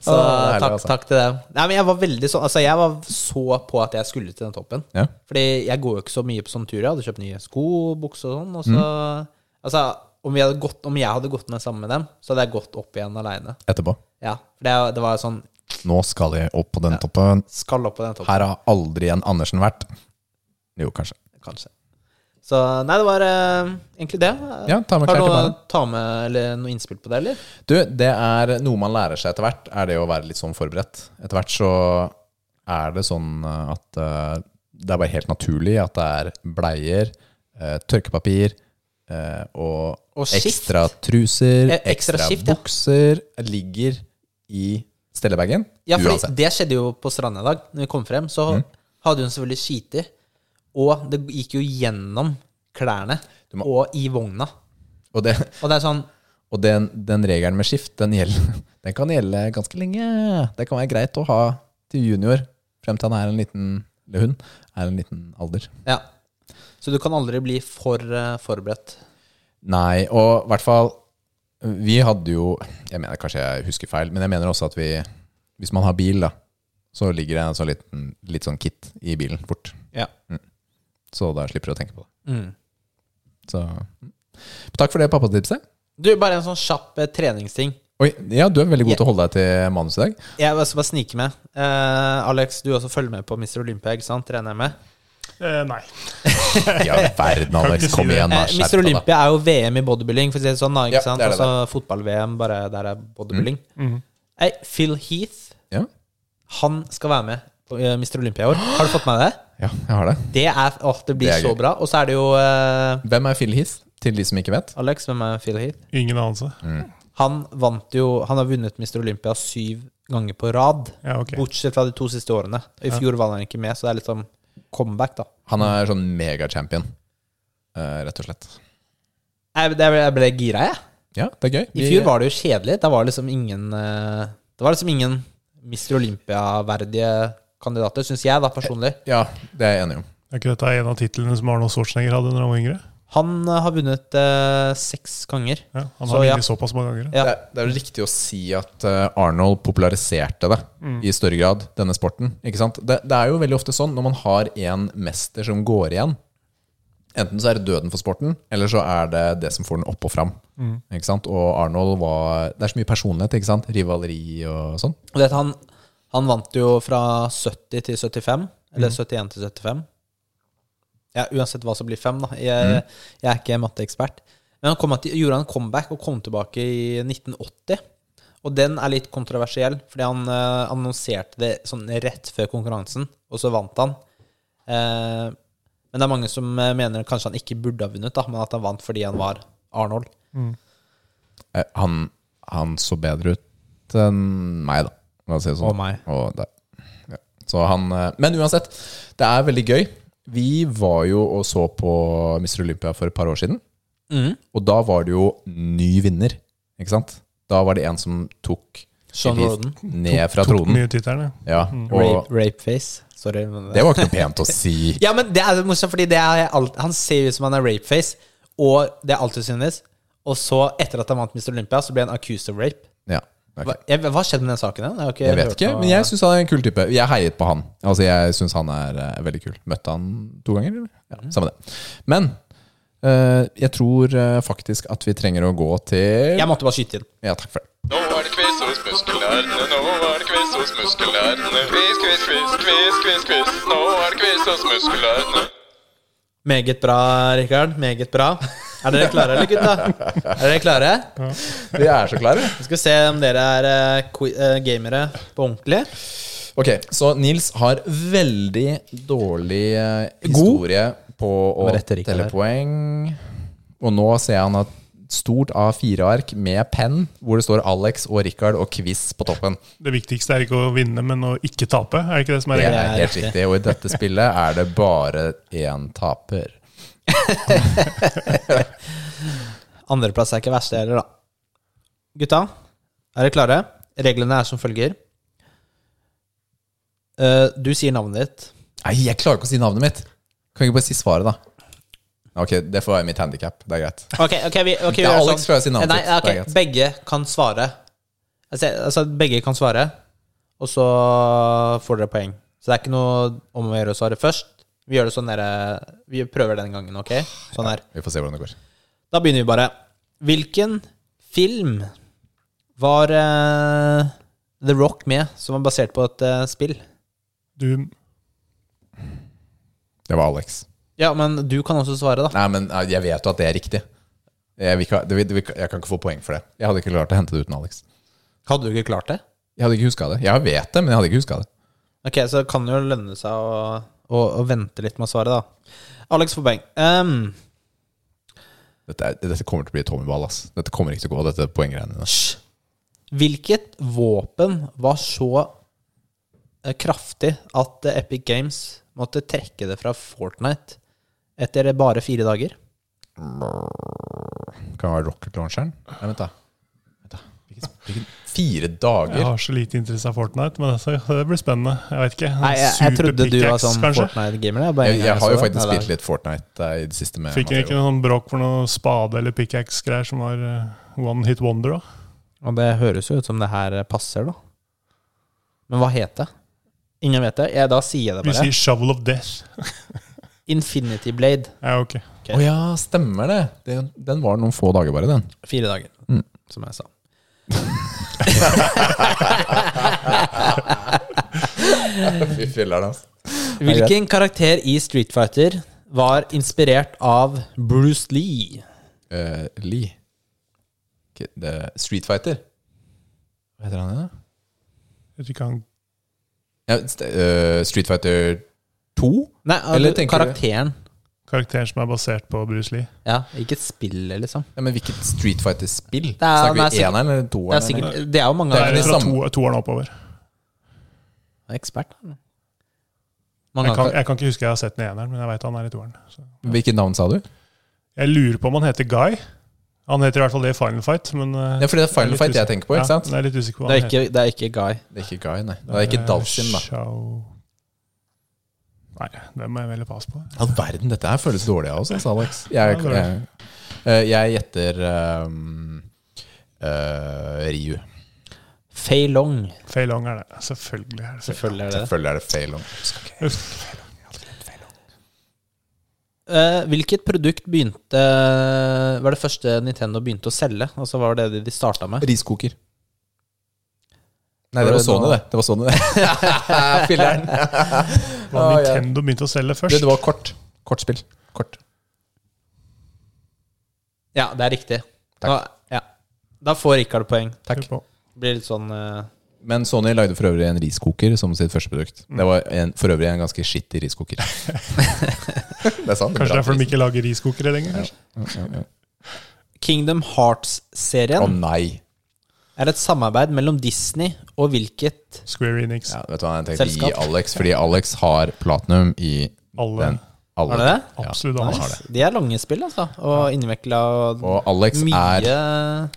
Speaker 2: så eh,
Speaker 1: Å, herlig,
Speaker 2: takk,
Speaker 1: altså.
Speaker 2: takk til dem. Nei, men jeg var veldig sånn Altså, jeg var så på at jeg skulle til den toppen.
Speaker 1: Ja.
Speaker 2: Fordi jeg går jo ikke så mye på sånn tur. Jeg hadde kjøpt nye sko, bukser og sånn. Og så,
Speaker 1: Mm.
Speaker 2: altså, om, vi hadde gått, om jeg hadde gått med sammen med dem, så hadde jeg gått opp igjen aleine.
Speaker 1: Etterpå.
Speaker 2: Ja, for det, det var sånn
Speaker 1: Nå skal jeg opp på den toppen.
Speaker 2: Skal opp på den toppen.
Speaker 1: Her har aldri en Andersen vært. Jo, kanskje.
Speaker 2: Kanskje. Så nei, det var eh, egentlig det.
Speaker 1: Ja, ta med
Speaker 2: Har
Speaker 1: klær
Speaker 2: du
Speaker 1: til
Speaker 2: noe,
Speaker 1: barna.
Speaker 2: ta med, eller, noe innspill på det, eller?
Speaker 1: Du, det er noe man lærer seg etter hvert, er det å være litt sånn forberedt. Etter hvert så er det sånn eh, at eh, det er bare helt naturlig at det er bleier, eh, tørkepapir eh, og,
Speaker 2: Og skift.
Speaker 1: ekstra truser,
Speaker 2: Eh, ekstra
Speaker 1: ekstra,
Speaker 2: skift, ja.
Speaker 1: bukser, ligger i stellebagen
Speaker 2: Ja, for
Speaker 1: uansett. Mm.
Speaker 2: det skjedde jo på stranda i dag. Når vi kom frem, så hadde hun selvfølgelig skiti. Og det gikk jo gjennom klærne
Speaker 1: Du må-
Speaker 2: og i vogna.
Speaker 1: Og, det,
Speaker 2: Og det er sånn
Speaker 1: og den, den regelen med skift, den, gjelder, [LAUGHS] den kan gjelde ganske lenge. Det kan være greit å ha til junior, frem til han er en liten, eller hun, er en liten alder.
Speaker 2: Ja. Så du kan aldri bli for eh, forberedt.
Speaker 1: Nei, og i hvert fall Vi hadde jo Jeg mener kanskje jeg husker feil, men jeg mener også at vi Hvis man har bil, da, så ligger det en sånn liten, litt sånn kit i bilen fort. Mm.
Speaker 2: Ja.
Speaker 1: Så da slipper du å tenke på det.
Speaker 2: Mm.
Speaker 1: Så mm. Takk for det pappatipset.
Speaker 2: Du, bare en sånn kjapp eh, treningsting.
Speaker 1: Oi, ja, du er veldig god til å holde deg til manus i dag.
Speaker 2: Jeg vil også bare snike med. Eh, Alex, du også følger med på Mr. Olympia, ikke sant? Trener jeg med?
Speaker 3: Eh, nei.
Speaker 1: Ja, verden, Alex. Kom igjen, da.
Speaker 2: Eh, Mr. Olympia er jo VM i bodybuilding, for å si det sånn. da, Ikke
Speaker 1: Ja,
Speaker 2: sant?
Speaker 1: det Mm. er det
Speaker 2: Altså fotball-VM, bare der er bodybuilding.
Speaker 3: Mhm.
Speaker 2: Nei, Phil Heath,
Speaker 1: Ja.
Speaker 2: han skal være med på eh, Mr. Olympia i år. Har du fått med deg det?
Speaker 1: ja, jeg har det.
Speaker 2: Det er, åh, det blir
Speaker 1: Det er
Speaker 2: så
Speaker 1: gøy.
Speaker 2: bra. Og så er det jo eh,
Speaker 1: Hvem er Phil Heath, til de som ikke vet?
Speaker 2: Alex, hvem er Phil Heath?
Speaker 3: Ingen anelse.
Speaker 2: Mm. Han vant jo Han har vunnet Mr. Olympia syv ganger på rad.
Speaker 3: Ja, ok.
Speaker 2: Bortsett fra de to siste årene. I fjor var han ikke med, så det er litt sånn comeback, da.
Speaker 1: Han er sånn megachampion, eh, rett og slett.
Speaker 2: Jeg, det- jeg ble gira, jeg.
Speaker 1: Ja, det er gøy.
Speaker 2: I fjor var det jo kjedelig. Da var det liksom ingen eh, Det var liksom ingen Mr. Olympia-verdige kandidater, syns jeg, da, personlig.
Speaker 1: Ja, det er jeg enig om.
Speaker 3: Er ikke dette en av titlene som Arnold Schwarzenegger hadde da han var yngre?
Speaker 2: Han eh, har vunnet eh, seks ganger.
Speaker 3: Ja, han
Speaker 2: Så,
Speaker 3: har
Speaker 2: ja. Eh,
Speaker 3: vunnet såpass mange ganger.
Speaker 2: Ja.
Speaker 1: Det, er- det er jo riktig å si at eh, Arnold populariserte det i større grad, denne sporten. Ikke sant? Det, det er jo veldig ofte sånn når man har en mester som går igjen. Enten så er det døden for sporten, eller så er det det som får den opp og fram. Ikke sant? Og Arnold var Det er så mye personlighet, ikke sant? Rivaleri og sånn.
Speaker 2: Og det at han, han vant jo fra 70 til 75, eller 71 til 75. Ja, uansett hva som blir fem, da. Jeg, jeg er ikke matteekspert. Men han kom at, gjorde han comeback og kom tilbake i 1980. Og den er litt kontroversiell, fordi han eh, annonserte det sånn rett før konkurransen, og så vant han. Eh, men det er mange som eh, mener kanskje han ikke burde ha vunnet, da, men at han vant fordi han var Arnold.
Speaker 1: Eh, Han, han så bedre ut enn meg, da. La oss si det sånn.
Speaker 2: Og meg.
Speaker 1: Og det. Ja. Så han, eh, men uansett, det er veldig gøy. Vi var jo og så på Mr. Olympia for et par år siden.
Speaker 2: Mm.
Speaker 1: Og da var det jo ny vinner, ikke sant? Da var det en som tok
Speaker 2: Sean
Speaker 1: Heath
Speaker 2: Roden. Mm.
Speaker 1: ned fra
Speaker 3: Tok
Speaker 1: tronen.
Speaker 3: mye tittelen, ja.
Speaker 1: Ja, og
Speaker 2: Rape, rapeface. Sorry. Men
Speaker 1: det var ikke noe pent å si.
Speaker 2: Ja, men det er morsomt, fordi det er alt, han ser ut som han er rapeface, og det er alt du synes. Og så, etter at han vant Mr. Olympia, så ble han accused of rape.
Speaker 1: Ja, ok.
Speaker 2: Hva, jeg, hva skjedde med den saken? igjen? Jeg, har ikke
Speaker 1: Jeg vet
Speaker 2: hørt
Speaker 1: ikke,
Speaker 2: noe-
Speaker 1: men jeg syns han er en kul type. Jeg heiet på han. Altså, jeg syns han er eh, veldig kul. Møtte han to ganger, eller? Ja,
Speaker 2: Mm.
Speaker 1: samme det. Men eh, jeg tror eh, faktisk at vi trenger å gå til
Speaker 2: jeg måtte bare skyte inn.
Speaker 1: Ja, takk for det.
Speaker 4: Nå er det quiz hos muskelnerdene, nå er det quiz hos muskelnerdene. Quiz, quiz, quiz, quiz, quiz, quiz. Nå er det quiz hos muskelnerdene.
Speaker 2: Meget bra, Rikard. Meget bra. Er dere klare, eller, gutta? Er dere klare?
Speaker 1: Vi er så klare.
Speaker 2: Vi skal se om dere er eh, qui- eh, gamere på ordentlig.
Speaker 1: Ok, så Nils har veldig dårlig eh, historie på å
Speaker 2: rette riktig
Speaker 1: telle poeng. Og nå ser jeg han har stort A4-ark med penn, hvor det står Alex og Richard og quiz på toppen.
Speaker 3: Det viktigste er ikke å vinne, men å ikke tape. Er det ikke det som er
Speaker 1: Det
Speaker 3: regelen?
Speaker 1: er helt riktig. Og i dette spillet er det bare én taper.
Speaker 2: Andreplass er ikke verst, det heller, da. Gutta, er dere klare? Reglene er som følger. Eh, du sier navnet ditt.
Speaker 1: Nei, jeg klarer ikke å si navnet mitt! Kan jeg ikke bare si svaret, da? Ok, det får være mitt handikap. Det er greit.
Speaker 2: Ok, ok, vi, ok, vi
Speaker 1: Ja,
Speaker 2: gjør
Speaker 1: Alex
Speaker 2: sånn.
Speaker 1: klarer å si navnet
Speaker 2: Nei,
Speaker 1: sitt,
Speaker 2: ok,
Speaker 1: det er greit.
Speaker 2: Begge kan svare. Altså, altså, begge kan svare, og så får dere poeng. Så det er ikke noe om å gjøre å svare først. Vi gjør det sånn dere Vi prøver den gangen, ok? Sånn her.
Speaker 1: Vi får se hvordan det går.
Speaker 2: Da begynner vi bare. Hvilken film var eh, The Rock med, som var basert på et eh, spill?
Speaker 3: Doom.
Speaker 1: Det var Alex.
Speaker 2: Ja, men du kan også svare, da.
Speaker 1: Nei, men eh, jeg vet jo at det er riktig. Jeg, vil ikke, ha- det, vil- det, vil- jeg kan ikke få poeng for det. Jeg hadde ikke klart å hente det uten Alex.
Speaker 2: Hadde du ikke klart det?
Speaker 1: Jeg hadde ikke huska det. Jeg vet det, men jeg hadde ikke huska det.
Speaker 2: Ok, så det kan jo lønne seg å, å, å vente litt med å svare, da. Alex får poeng. Ehm,
Speaker 1: Dette, er, dette kommer til å bli tommyball, ass. Dette kommer ikke til å gå, dette poenggreiene. dine.
Speaker 2: hysj. hvilket våpen var så eh, kraftig at eh, Epic Games måtte trekke det fra Fortnite etter bare fire dager?
Speaker 1: Kan det være rocket launcheren? Nei, vent, da. Vent da. Hvilken, hvilken, fire dager?
Speaker 3: Jeg har så lite interesse av Fortnite, men altså, det blir spennende. Jeg vet ikke.
Speaker 2: Nei, jeg, jeg trodde du var
Speaker 3: Superpickaxe,
Speaker 2: sånn
Speaker 3: kanskje?
Speaker 2: Fortnite-gamer. bare
Speaker 1: Jeg,
Speaker 2: en gang
Speaker 1: jeg
Speaker 2: så
Speaker 1: har jo
Speaker 2: det.
Speaker 1: faktisk
Speaker 2: Nei, det er-
Speaker 1: spilt litt Fortnite eh, i det siste. Med
Speaker 3: Fikk han ikke
Speaker 1: Matteo.
Speaker 3: noen bråk for noe spade eller pickaxe greier som var eh, one hit wonder, da?
Speaker 2: Og det høres jo ut som det her passer, da. Men hva het det? Ingen vet det? Jeg, da sier jeg det
Speaker 3: Vi
Speaker 2: bare.
Speaker 3: sier shovel of death.
Speaker 2: Infinity Blade.
Speaker 3: Ja, ok.
Speaker 1: Å ja, stemmer det. det! Den var noen få dager bare, den.
Speaker 2: Fire dager, som jeg sa.
Speaker 1: [LAUGHS] Fy filler'n, altså.
Speaker 2: Hvilken karakter i Street Fighter var inspirert av Bruce Lee?
Speaker 1: Eh, Lee Ok, det er Street Fighter. Hva heter han igjen? da?
Speaker 3: Jeg tror ikke han
Speaker 1: Ja, st- eh, Street Fighter 2?
Speaker 2: Nei,
Speaker 1: Eller
Speaker 2: du,
Speaker 1: tenker du-
Speaker 2: karakteren.
Speaker 3: karakteren som er basert på Bruce Lee.
Speaker 2: Ja, ikke spillet, liksom.
Speaker 1: Ja, men hvilket Street Fighter-spill?
Speaker 2: er-
Speaker 1: Snakker
Speaker 2: nei,
Speaker 1: vi
Speaker 2: sikkert-
Speaker 1: eneren eller
Speaker 2: Det er,
Speaker 1: toeren? eller?
Speaker 2: sikkert, det er jo mange
Speaker 1: Det
Speaker 3: Det
Speaker 1: er
Speaker 2: av
Speaker 3: er
Speaker 1: det
Speaker 3: liksom- fra
Speaker 1: samme.
Speaker 3: to, toeren oppover.
Speaker 2: Ekspert. da.
Speaker 3: Jeg
Speaker 2: Mange
Speaker 3: kan,
Speaker 2: av
Speaker 3: jeg kan ikke huske jeg har sett den i eneren, men jeg vet han er i toeren. Så.
Speaker 1: Hvilket navn sa du?
Speaker 3: Jeg lurer på om han heter Guy. Han heter i hvert fall det i Final Fight, men eh,
Speaker 1: Ja, fordi det er Final
Speaker 3: litt
Speaker 1: Fight jeg
Speaker 3: usikker.
Speaker 1: tenker på, ikke sant?
Speaker 3: Ja, men jeg er litt usikker på hva
Speaker 2: det, er
Speaker 3: han heter.
Speaker 2: ikke, det er ikke Guy.
Speaker 1: Det er ikke Guy, nei. Det er ikke Dalsim, da.
Speaker 3: Shao- Nei, det må jeg veldig passe på.
Speaker 1: All verden, dette her føles dårlig av oss, altså, Alex. Jeg,
Speaker 3: Ja, det er
Speaker 1: jeg, eh, jeg gjetter um, eh, Ryu.
Speaker 2: Fei Long.
Speaker 3: Fei Long er det. Selvfølgelig er det Fei Long.
Speaker 2: Selvfølgelig er det det.
Speaker 1: Selvfølgelig er det feil. om-
Speaker 2: Eh, hvilket produkt begynte Var det første Nintendo begynte å selge? Altså hva var det de starta med?
Speaker 1: Riskoker. Nei, det var Sony, det. Det var
Speaker 2: [LAUGHS]
Speaker 1: Sony, det. Filler'n.
Speaker 3: Det var
Speaker 1: Ah, ja.
Speaker 3: Nintendo begynte å selge
Speaker 1: Det,
Speaker 3: først.
Speaker 1: det var kort. Kortspill. Kort.
Speaker 2: Ja, det er riktig.
Speaker 1: Takk.
Speaker 2: Da, ja. da får Rikard poeng.
Speaker 1: Takk.
Speaker 3: På.
Speaker 2: Det blir litt sånn eh,
Speaker 1: Men Sony lagde for øvrig en riskoker som sitt første produkt.
Speaker 3: Mm.
Speaker 1: Det var en, for øvrig en ganske skittig
Speaker 3: [LAUGHS]
Speaker 1: riskoker. det er sant. det er
Speaker 3: Kanskje
Speaker 1: bra
Speaker 3: derfor de
Speaker 1: pris.
Speaker 3: ikke lager riskokere lenger. kanskje?
Speaker 1: Ja, ja.
Speaker 2: Kingdom
Speaker 1: Å
Speaker 2: Hearts-serien
Speaker 1: nei!
Speaker 2: er et samarbeid mellom Disney og hvilket
Speaker 3: Square Enix.
Speaker 1: Ja, vet du hva, jeg tenkte å gi
Speaker 2: Selskap.
Speaker 1: Alex, fordi Alex har platinum i
Speaker 3: Alle.
Speaker 1: den. Alle.
Speaker 2: Er det det?
Speaker 1: Ja.
Speaker 3: Absolutt alle har det.
Speaker 2: De er lange spill, altså. Og innvikla og
Speaker 1: Og Alex er,
Speaker 2: mye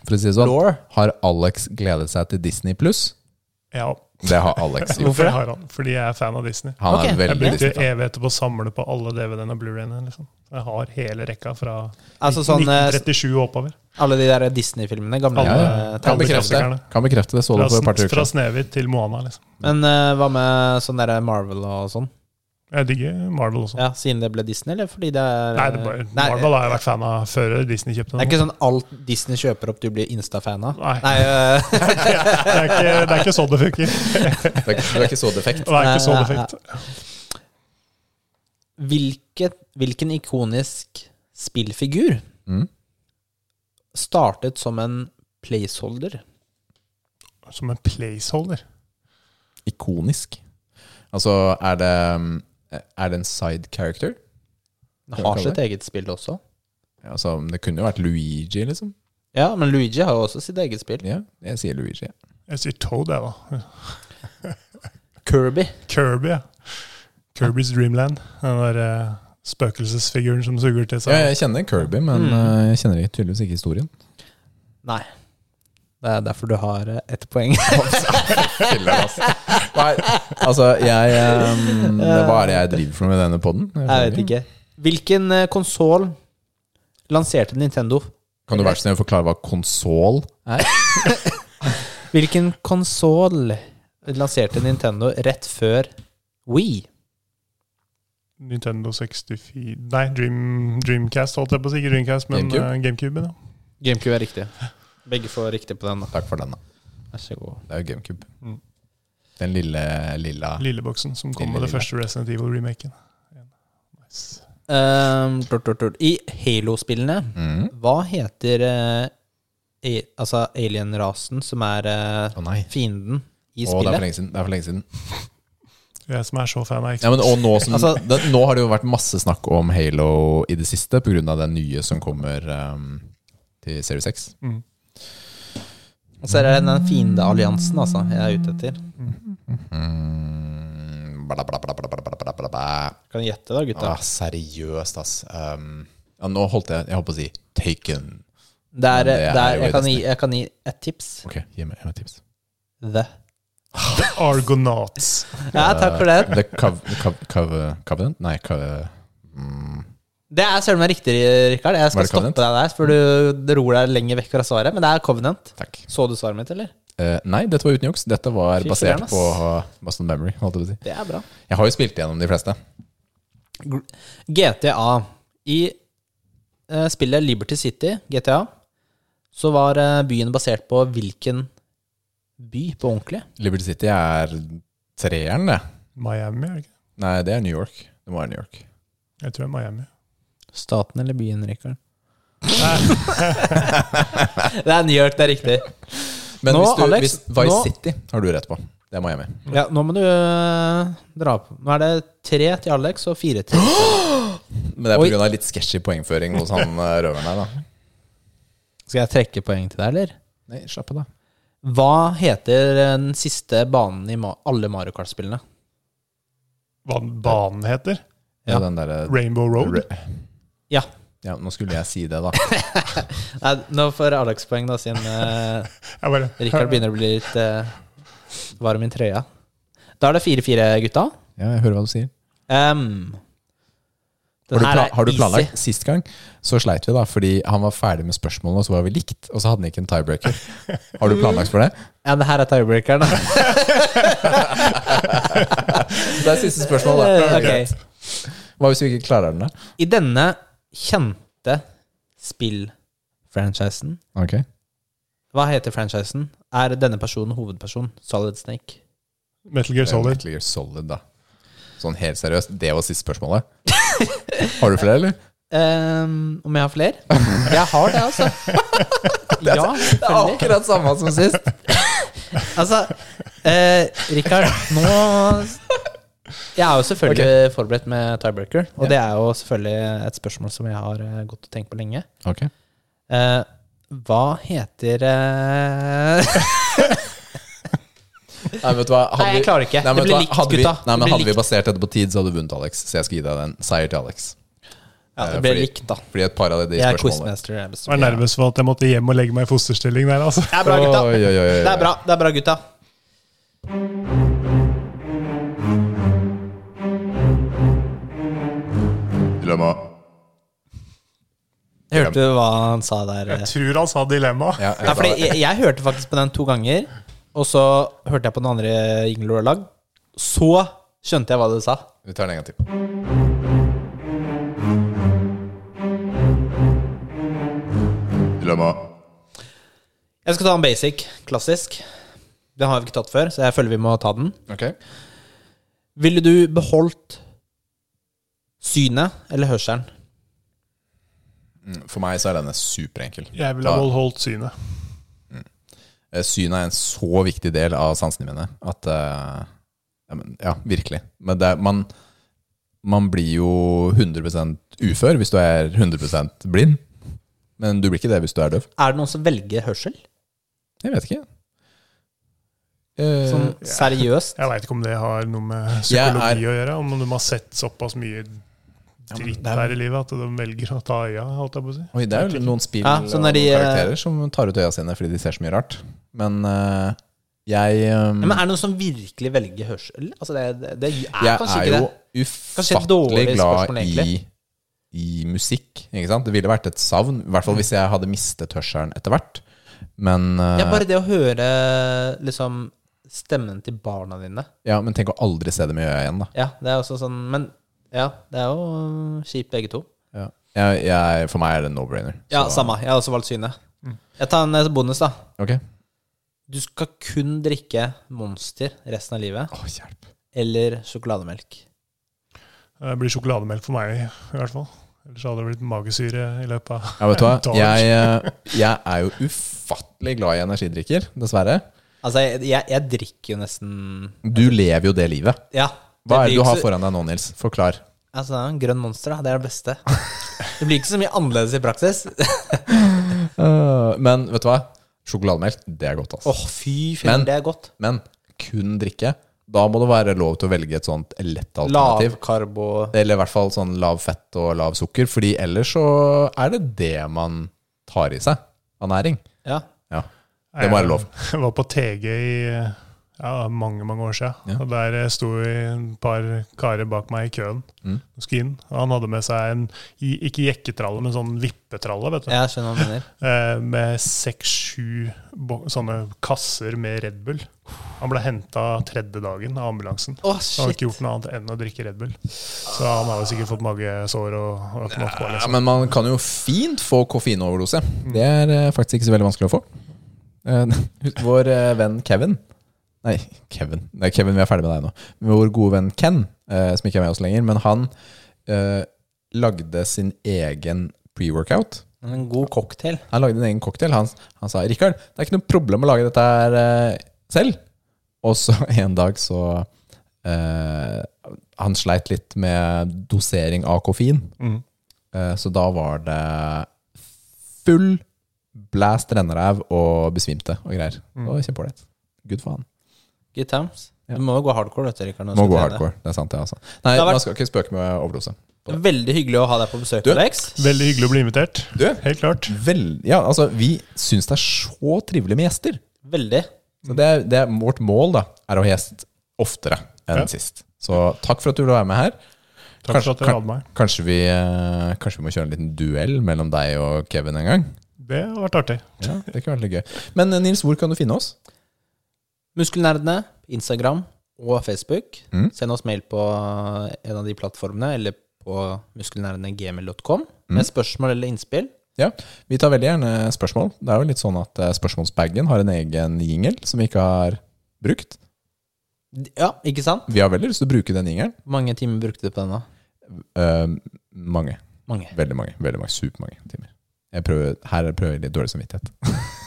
Speaker 1: for å si det sånn, har Alex gledet seg til Disney pluss?
Speaker 3: Ja,
Speaker 1: Det har Alex gjort.
Speaker 2: Hvorfor det?
Speaker 3: har han, fordi jeg er fan av Disney.
Speaker 1: Han
Speaker 2: Ok.
Speaker 1: er
Speaker 3: Jeg
Speaker 1: veldig
Speaker 3: brukte
Speaker 1: Disney-fan.
Speaker 3: evigheter på å samle på alle DVD-ene og Blu-rayene. Liksom. Jeg har hele rekka fra
Speaker 2: Altså sånn eh,
Speaker 3: 1937 og oppover.
Speaker 2: alle de der Disney-filmene. Gamle
Speaker 3: Alle.
Speaker 2: eh,
Speaker 1: Kan bekrefte, det. kan bekrefte det. Så
Speaker 3: Fra,
Speaker 1: det for et par
Speaker 3: sn-
Speaker 1: uker
Speaker 3: fra
Speaker 1: siden.
Speaker 3: Snehvit til Moana, liksom.
Speaker 2: Men eh, hva med sånn derre Marvel og sånn?
Speaker 3: Jeg digger Marvel også.
Speaker 2: Ja, Siden det ble Disney, eller fordi det er
Speaker 3: Nei, det er bare,
Speaker 2: Nei,
Speaker 3: Marvel har jeg vært fan av før Disney kjøpte
Speaker 2: Det er
Speaker 3: den.
Speaker 2: ikke sånn alt Disney kjøper opp du blir Insta-fan av?
Speaker 3: Nei.
Speaker 2: eh,
Speaker 3: [LAUGHS]
Speaker 2: [LAUGHS]
Speaker 3: Det er ikke, det er ikke sånn det funker.
Speaker 1: Det er ikke- det er ikke så
Speaker 3: [LAUGHS]
Speaker 1: defekt.
Speaker 3: Og det er ikke sånn det
Speaker 2: Nei, nei,
Speaker 3: funker.
Speaker 2: hvilket, hvilken ikonisk spillfigur
Speaker 1: Mm.
Speaker 2: startet som en placeholder?
Speaker 3: Som en placeholder.
Speaker 1: Ikonisk. Altså, er det Er det en side character?
Speaker 2: Den har sitt eget spill også.
Speaker 1: Altså, det kunne jo vært Luigi, liksom.
Speaker 2: Ja, men Luigi har jo også sitt eget spill.
Speaker 1: Ja, jeg sier Luigi.
Speaker 3: Jeg sier Toad, jeg, da.
Speaker 2: Kirby.
Speaker 3: Kirby, ja. Kirby's Dreamland. Den der eh, spøkelsesfiguren som suger til
Speaker 1: Ja,
Speaker 3: seg
Speaker 1: jeg kjenner Kirby, men
Speaker 2: Mm.
Speaker 1: eh, jeg kjenner ikke- tydeligvis ikke historien.
Speaker 2: Nei. Det er derfor du har eh, ett poeng.
Speaker 1: Filler, altså. [LAUGHS] Nei, altså, jeg eh, det- Hva er det jeg driver for noe med denne poden?
Speaker 2: [LAUGHS] Jeg vet ikke. Hvilken konsoll lanserte Nintendo?
Speaker 1: Kan du være så snill å forklare hva konsol
Speaker 2: Hvilken konsoll lanserte Nintendo rett før Wii?
Speaker 3: Nintendo 64 Nei, Dream, Dreamcast, holdt jeg på å si. Ikke Dreamcast, men
Speaker 1: GameCube.
Speaker 3: GameCube. GameCube da.
Speaker 2: GameCube er riktig. Begge får riktig på den. da.
Speaker 1: Takk for den, da.
Speaker 2: Vær så god.
Speaker 1: Det er jo GameCube.
Speaker 3: Mm.
Speaker 1: Den lille lilla
Speaker 3: Lilleboksen som kom
Speaker 1: Lille,
Speaker 3: med det
Speaker 1: lille.
Speaker 3: første Resident Evil-remaken. Nice.
Speaker 2: Ehm, tort, tort, tort. I Halo-spillene,
Speaker 1: Mhm.
Speaker 2: hva heter eh, a- altså alien-rasen som er eh,
Speaker 1: Å nei.
Speaker 2: fienden i
Speaker 1: Å, det er for
Speaker 2: spillet?
Speaker 1: lenge siden. Det er for lenge siden.
Speaker 3: Jeg som er så fan av
Speaker 1: Ja,
Speaker 3: Xbox.
Speaker 1: men, og nå, som,
Speaker 2: Altså-
Speaker 1: det, nå har det jo vært masse snakk om Halo i det siste pga. den nye som kommer ehm, til Series 6.
Speaker 3: Mm.
Speaker 2: Og så er det den fiendealliansen altså, jeg er ute etter.
Speaker 1: Mm, bla, bla, bla, bla, bla, bla, bla, bla, bla.
Speaker 2: Kan du gjette, da, gutta?
Speaker 1: Ah, seriøst, ass. Um, ja, nå holdt jeg Jeg holdt på å si Taken.
Speaker 2: Det
Speaker 1: men
Speaker 2: er,
Speaker 1: det er
Speaker 2: det er,
Speaker 1: jo i
Speaker 2: jeg, kan gi,
Speaker 1: Destiny.
Speaker 2: jeg kan gi et tips.
Speaker 1: Ok, gi meg gi meg et tips.
Speaker 2: The.
Speaker 3: [LAUGHS] Argonauts.
Speaker 2: Ja, takk for det.
Speaker 1: The Cov... Cov... Cov... Covenant? Nei, Cov... Mm.
Speaker 2: Det er søren meg riktig, Rikard. Jeg
Speaker 1: Var
Speaker 2: skal
Speaker 1: det
Speaker 2: stoppe
Speaker 1: Covenant?
Speaker 2: deg der, for du ror deg lenger vekk fra svaret. Men det er Covenant.
Speaker 1: Takk.
Speaker 2: Så du svaret mitt, eller?
Speaker 1: Eh, nei, dette var uten juks. Dette var
Speaker 2: Fy
Speaker 1: basert
Speaker 2: søren, ass.
Speaker 1: på Boston Memory. Holdt jeg, på å si.
Speaker 2: Det er bra.
Speaker 1: jeg har jo spilt gjennom de fleste.
Speaker 2: GTA. I eh, spillet Liberty City, GTA, så var eh, byen basert på hvilken by på ordentlig?
Speaker 1: Liberty City er treeren, det.
Speaker 3: Miami, er det ikke?
Speaker 1: Nei, det er New York. Det må være New York.
Speaker 3: Jeg tror det er Miami.
Speaker 2: Staten eller byen, [LAUGHS] Rikard? det er New York, det er riktig.
Speaker 1: Men
Speaker 2: Nå,
Speaker 1: hvis du,
Speaker 2: Alex,
Speaker 1: hvis Vice
Speaker 2: nå-
Speaker 1: City har du rett på. Det er Miami.
Speaker 2: Ja, nå må du eh, dra på. Nå er det tre til Alex og fire til
Speaker 1: Men det er
Speaker 2: Oi.
Speaker 1: pga. litt sketchy poengføring hos han eh, røveren her, da.
Speaker 2: Skal jeg trekke poeng til deg, eller?
Speaker 1: Nei, slapp av, da.
Speaker 2: Hva heter den siste banen i ma alle Mario Kart-spillene?
Speaker 3: Hva banen heter?
Speaker 1: Ja.
Speaker 2: Ja.
Speaker 1: Den derre
Speaker 3: Rainbow Road?
Speaker 1: Re-
Speaker 2: Ja.
Speaker 1: Ja, nå skulle jeg si det, da.
Speaker 2: Nei, nå får Alex poeng, da, siden eh,
Speaker 3: Jeg bare,
Speaker 2: Rikard begynner å bli litt eh, varm i trøya. Da er det 4-4, gutta.
Speaker 1: Ja, jeg hører hva du sier.
Speaker 2: Em,
Speaker 1: Har
Speaker 2: den
Speaker 1: du,
Speaker 2: her
Speaker 1: pla
Speaker 2: er
Speaker 1: har du
Speaker 2: easy.
Speaker 1: planlagt? Sist gang så sleit vi, da, fordi han var ferdig med spørsmålene, og så var vi likt, og så hadde han ikke en tiebreaker. Har du planlagt for det?
Speaker 2: Ja, det her er tiebreakeren.
Speaker 1: [LAUGHS]
Speaker 2: da.
Speaker 1: Det er siste spørsmål, da.
Speaker 2: Eh, Ok.
Speaker 1: Hva hvis vi ikke klarer den, da?
Speaker 2: I denne kjente spillfranchisen
Speaker 1: Ok.
Speaker 2: Hva heter franchisen? Er denne personen hovedperson? Solid Snake.
Speaker 3: Metal Gear Solid.
Speaker 1: Metal Gear Solid, da. Sånn helt seriøst, det var siste spørsmålet. Har du flere, eller?
Speaker 2: Em, om jeg har
Speaker 1: [LAUGHS]
Speaker 2: flere? Jeg har det, altså. Ja, selvfølgelig.
Speaker 1: akkurat samme som sist.
Speaker 2: Altså, eh, Rikard, nå Jeg er jo selvfølgelig forberedt med tiebreaker, og det er jo selvfølgelig et spørsmål som jeg har eh, gått og tenkt på lenge.
Speaker 1: Ok.
Speaker 2: Eh, hva heter eh,
Speaker 1: Nei, vet du hva? Hadde
Speaker 2: Nei, jeg
Speaker 1: vi-
Speaker 2: klarer ikke.
Speaker 1: Nei, men
Speaker 2: Det
Speaker 1: vet
Speaker 2: blir
Speaker 1: du hva?
Speaker 2: likt,
Speaker 1: Hadde vi-
Speaker 2: gutta.
Speaker 1: Nei,
Speaker 2: Det
Speaker 1: men
Speaker 2: blir
Speaker 1: Hadde vi
Speaker 2: likt.
Speaker 1: basert dette på tid, så hadde du vunnet, Alex. Så jeg skal gi deg den. Seier til Alex.
Speaker 2: Ja,
Speaker 1: Eh,
Speaker 2: det ble
Speaker 1: fordi-
Speaker 2: likt, da.
Speaker 1: Fordi et par av de
Speaker 2: Jeg
Speaker 1: spørsmålene
Speaker 2: er quizmaster. Jeg
Speaker 3: Jeg var
Speaker 2: bestemmer.
Speaker 3: nervøs for at jeg måtte hjem og legge meg i fosterstilling der, altså.
Speaker 2: det er bra, gutta.
Speaker 1: Oi, oi, oi, oi.
Speaker 2: Det er bra, det er bra gutta.
Speaker 1: Dilemma.
Speaker 2: Hørte du hva han sa der?
Speaker 3: Jeg tror han sa dilemma.
Speaker 1: Ja,
Speaker 2: Nei, fordi jeg, jeg hørte faktisk på den to ganger, og så hørte jeg på den andre jinglen du har lagd. Så skjønte jeg hva du sa.
Speaker 1: Vi tar den en gang til. Dilemma.
Speaker 2: Jeg skal ta en basic, klassisk. Den har vi ikke tatt før, så jeg føler vi må ta den.
Speaker 1: Ok.
Speaker 2: Ville du beholdt synet eller hørselen?
Speaker 1: Mm, For meg så er denne superenkel.
Speaker 3: Jeg ville ha holdt synet.
Speaker 1: Eh, Synet er en så viktig del av sansene mine at eh, ja, men, ja, virkelig. Men det, er- man, man blir jo 100 ufør hvis du er 100 blind. Men du blir ikke det hvis du er døv.
Speaker 2: Er det noen som velger hørsel?
Speaker 1: Jeg vet ikke. Eh,
Speaker 2: Sånn seriøst?
Speaker 3: Jeg veit ikke om det har noe med
Speaker 1: Jeg er-
Speaker 3: psykologi å gjøre, om de har sett såpass mye dritt
Speaker 1: det er-
Speaker 3: her i livet at de velger å ta øya, holdt jeg på å si.
Speaker 1: Oi, det er jo noen spill
Speaker 2: Ja, så når
Speaker 1: og
Speaker 2: de, eh,
Speaker 1: karakterer som tar ut øya sine fordi de ser så mye rart. Men eh, jeg eh,
Speaker 2: Ja, men er det noen som virkelig velger hørsel? Altså det, det, det er
Speaker 1: Jeg
Speaker 2: kanskje
Speaker 1: er
Speaker 2: ikke
Speaker 1: jo
Speaker 2: det. Kanskje et
Speaker 1: ufattelig
Speaker 2: dårlig
Speaker 1: glad
Speaker 2: spørsmål,
Speaker 1: i,
Speaker 2: egentlig.
Speaker 1: i musikk. Ikke sant? Det ville vært et savn, i hvert fall hvis jeg hadde mistet hørselen etter hvert. Men, eh,
Speaker 2: Ja, bare det å høre liksom stemmen til barna dine.
Speaker 1: ja, men tenk å aldri se det med øya igjen, da.
Speaker 2: Ja, det er også sånn Men ja, det er jo øh, kjipt begge to.
Speaker 1: Ja. Jeg, jeg, for meg er det en no-brainer.
Speaker 2: Ja,
Speaker 1: Så-
Speaker 2: samme. Jeg har også valgt syne. Jeg tar en eh, bonus, da.
Speaker 1: Ok.
Speaker 2: Du skal kun drikke Monster resten av livet,
Speaker 1: Å, hjelp.
Speaker 2: eller sjokolademelk.
Speaker 3: Det blir sjokolademelk for meg, i hvert fall. Ellers hadde det blitt magesyre i løpet av
Speaker 1: Ja, vet du hva?
Speaker 3: Dodge.
Speaker 1: Jeg, eh, jeg er jo ufattelig glad i energidrikker, dessverre.
Speaker 2: Altså, jeg, jeg, jeg drikker jo nesten
Speaker 1: Du lever jo det livet.
Speaker 2: Ja. det
Speaker 1: Hva er
Speaker 2: blir
Speaker 1: det du
Speaker 2: ikke
Speaker 1: har
Speaker 2: så-
Speaker 1: foran deg nå, Nils? Forklar.
Speaker 2: Altså, det er jo en grønn monster, da. Det er det beste. Det blir ikke så mye annerledes i
Speaker 1: [LAUGHS]
Speaker 2: praksis. Åh,
Speaker 1: Øh, men vet du hva? Sjokolademelk, det er godt, altså.
Speaker 2: fy
Speaker 1: Men-
Speaker 2: fillen, det er godt.
Speaker 1: Men kun drikke. Da må det være lov til å velge et sånt lett alternativ.
Speaker 2: Lavkarbo
Speaker 1: Eller i hvert fall sånn lav fett og lav sukker, fordi ellers så er det det man tar i seg av næring.
Speaker 2: Ja.
Speaker 1: Ja. [LAUGHS] Det må være lov.
Speaker 3: Jeg var på TG i ja, mange, mange år siden.
Speaker 1: Ja.
Speaker 3: Og der sto et par karer bak meg i køen.
Speaker 1: Mm.
Speaker 3: og skulle inn. Og han hadde med seg en, i- ikke jekketralle, men sånn vippetralle, vet du.
Speaker 2: Jeg skjønner hva du mener.
Speaker 3: Eh, med seks-sju bo- sånne kasser med Red Bull. Han ble henta tredje dagen av ambulansen.
Speaker 2: Å,
Speaker 3: Han har ikke
Speaker 2: shit.
Speaker 3: gjort noe annet enn å drikke Red Bull. Så han har jo sikkert fått magesår og, og knopp på.
Speaker 1: Ja,
Speaker 3: Liksom.
Speaker 1: men man kan jo fint få koffeinoverdose. Det er eh, faktisk ikke så veldig vanskelig å få. Eh, [LAUGHS] Vår eh, venn Kevin Nei, Kevin, Nei, Kevin, vi er ferdig med deg nå. Vår gode venn Ken, eh, som ikke er med oss lenger, men han eh, lagde sin egen pre-workout.
Speaker 2: En god cocktail.
Speaker 1: Han lagde en egen cocktail. Han, han sa 'Rikard, det er ikke noe problem å lage dette her eh, selv'. Og så [LAUGHS] en dag så eh, Han sleit litt med dosering av koffein.
Speaker 3: Mm.
Speaker 1: Eh, Så da var det full blast renneræv og besvimte og greier. Det var kjempeålreit. Gud faen.
Speaker 2: Good times.
Speaker 1: Ja.
Speaker 2: Du må jo gå hardcore, vet du, Rikard. når du
Speaker 1: Må
Speaker 2: skal
Speaker 1: gå
Speaker 2: trene.
Speaker 1: hardcore. Det er sant, det, altså. Nei,
Speaker 2: Det har vært-
Speaker 1: man skal ikke spøke med overdose.
Speaker 2: Det er Veldig hyggelig å ha deg på besøk,
Speaker 1: Du-
Speaker 2: Alex.
Speaker 3: Veldig hyggelig å bli invitert.
Speaker 1: Du,
Speaker 3: Helt klart.
Speaker 1: vel, ja, altså, vi syns det er så trivelig med gjester.
Speaker 2: Veldig.
Speaker 1: Så det er, det er vårt mål da, er å ha gjest oftere enn
Speaker 3: Ja.
Speaker 1: sist. Så takk for at du ville være med her.
Speaker 3: Takk for
Speaker 1: Kanskje-
Speaker 3: at dere hadde meg.
Speaker 1: Kanskje vi, eh, kanskje vi må kjøre en liten duell mellom deg og Kevin en gang?
Speaker 3: Det har vært artig.
Speaker 1: Ja, det kan være litt gøy. Men eh, Nils, hvor kan du finne oss?
Speaker 2: Muskelnerdene, Instagram og Facebook.
Speaker 1: Mm.
Speaker 2: Send oss mail på en av de plattformene, eller på muskelnerdene.gmil.com
Speaker 1: Mm.
Speaker 2: med spørsmål eller innspill.
Speaker 1: Ja, vi tar veldig gjerne spørsmål. Det er jo litt sånn at eh, spørsmålsbagen har en egen jingle som vi ikke har brukt.
Speaker 2: Ja, ikke sant?
Speaker 1: Vi har veldig lyst til å bruke den jingelen.
Speaker 2: Hvor mange timer brukte du på denne?
Speaker 1: Eh, mange.
Speaker 2: Mange.
Speaker 1: Veldig mange. veldig mange, Supermange timer. Jeg prøver, her prøver jeg litt dårlig samvittighet.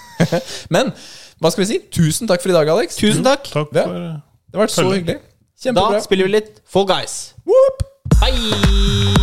Speaker 1: [LAUGHS] Men hva skal vi si? Tusen takk for i dag, Alex.
Speaker 2: Tusen takk!
Speaker 3: Takk
Speaker 1: Ja.
Speaker 3: for
Speaker 1: Det har vært så hyggelig.
Speaker 2: Da
Speaker 1: Kjempebra.
Speaker 2: spiller vi litt Fall Guys.
Speaker 1: Whoop!
Speaker 2: Hei!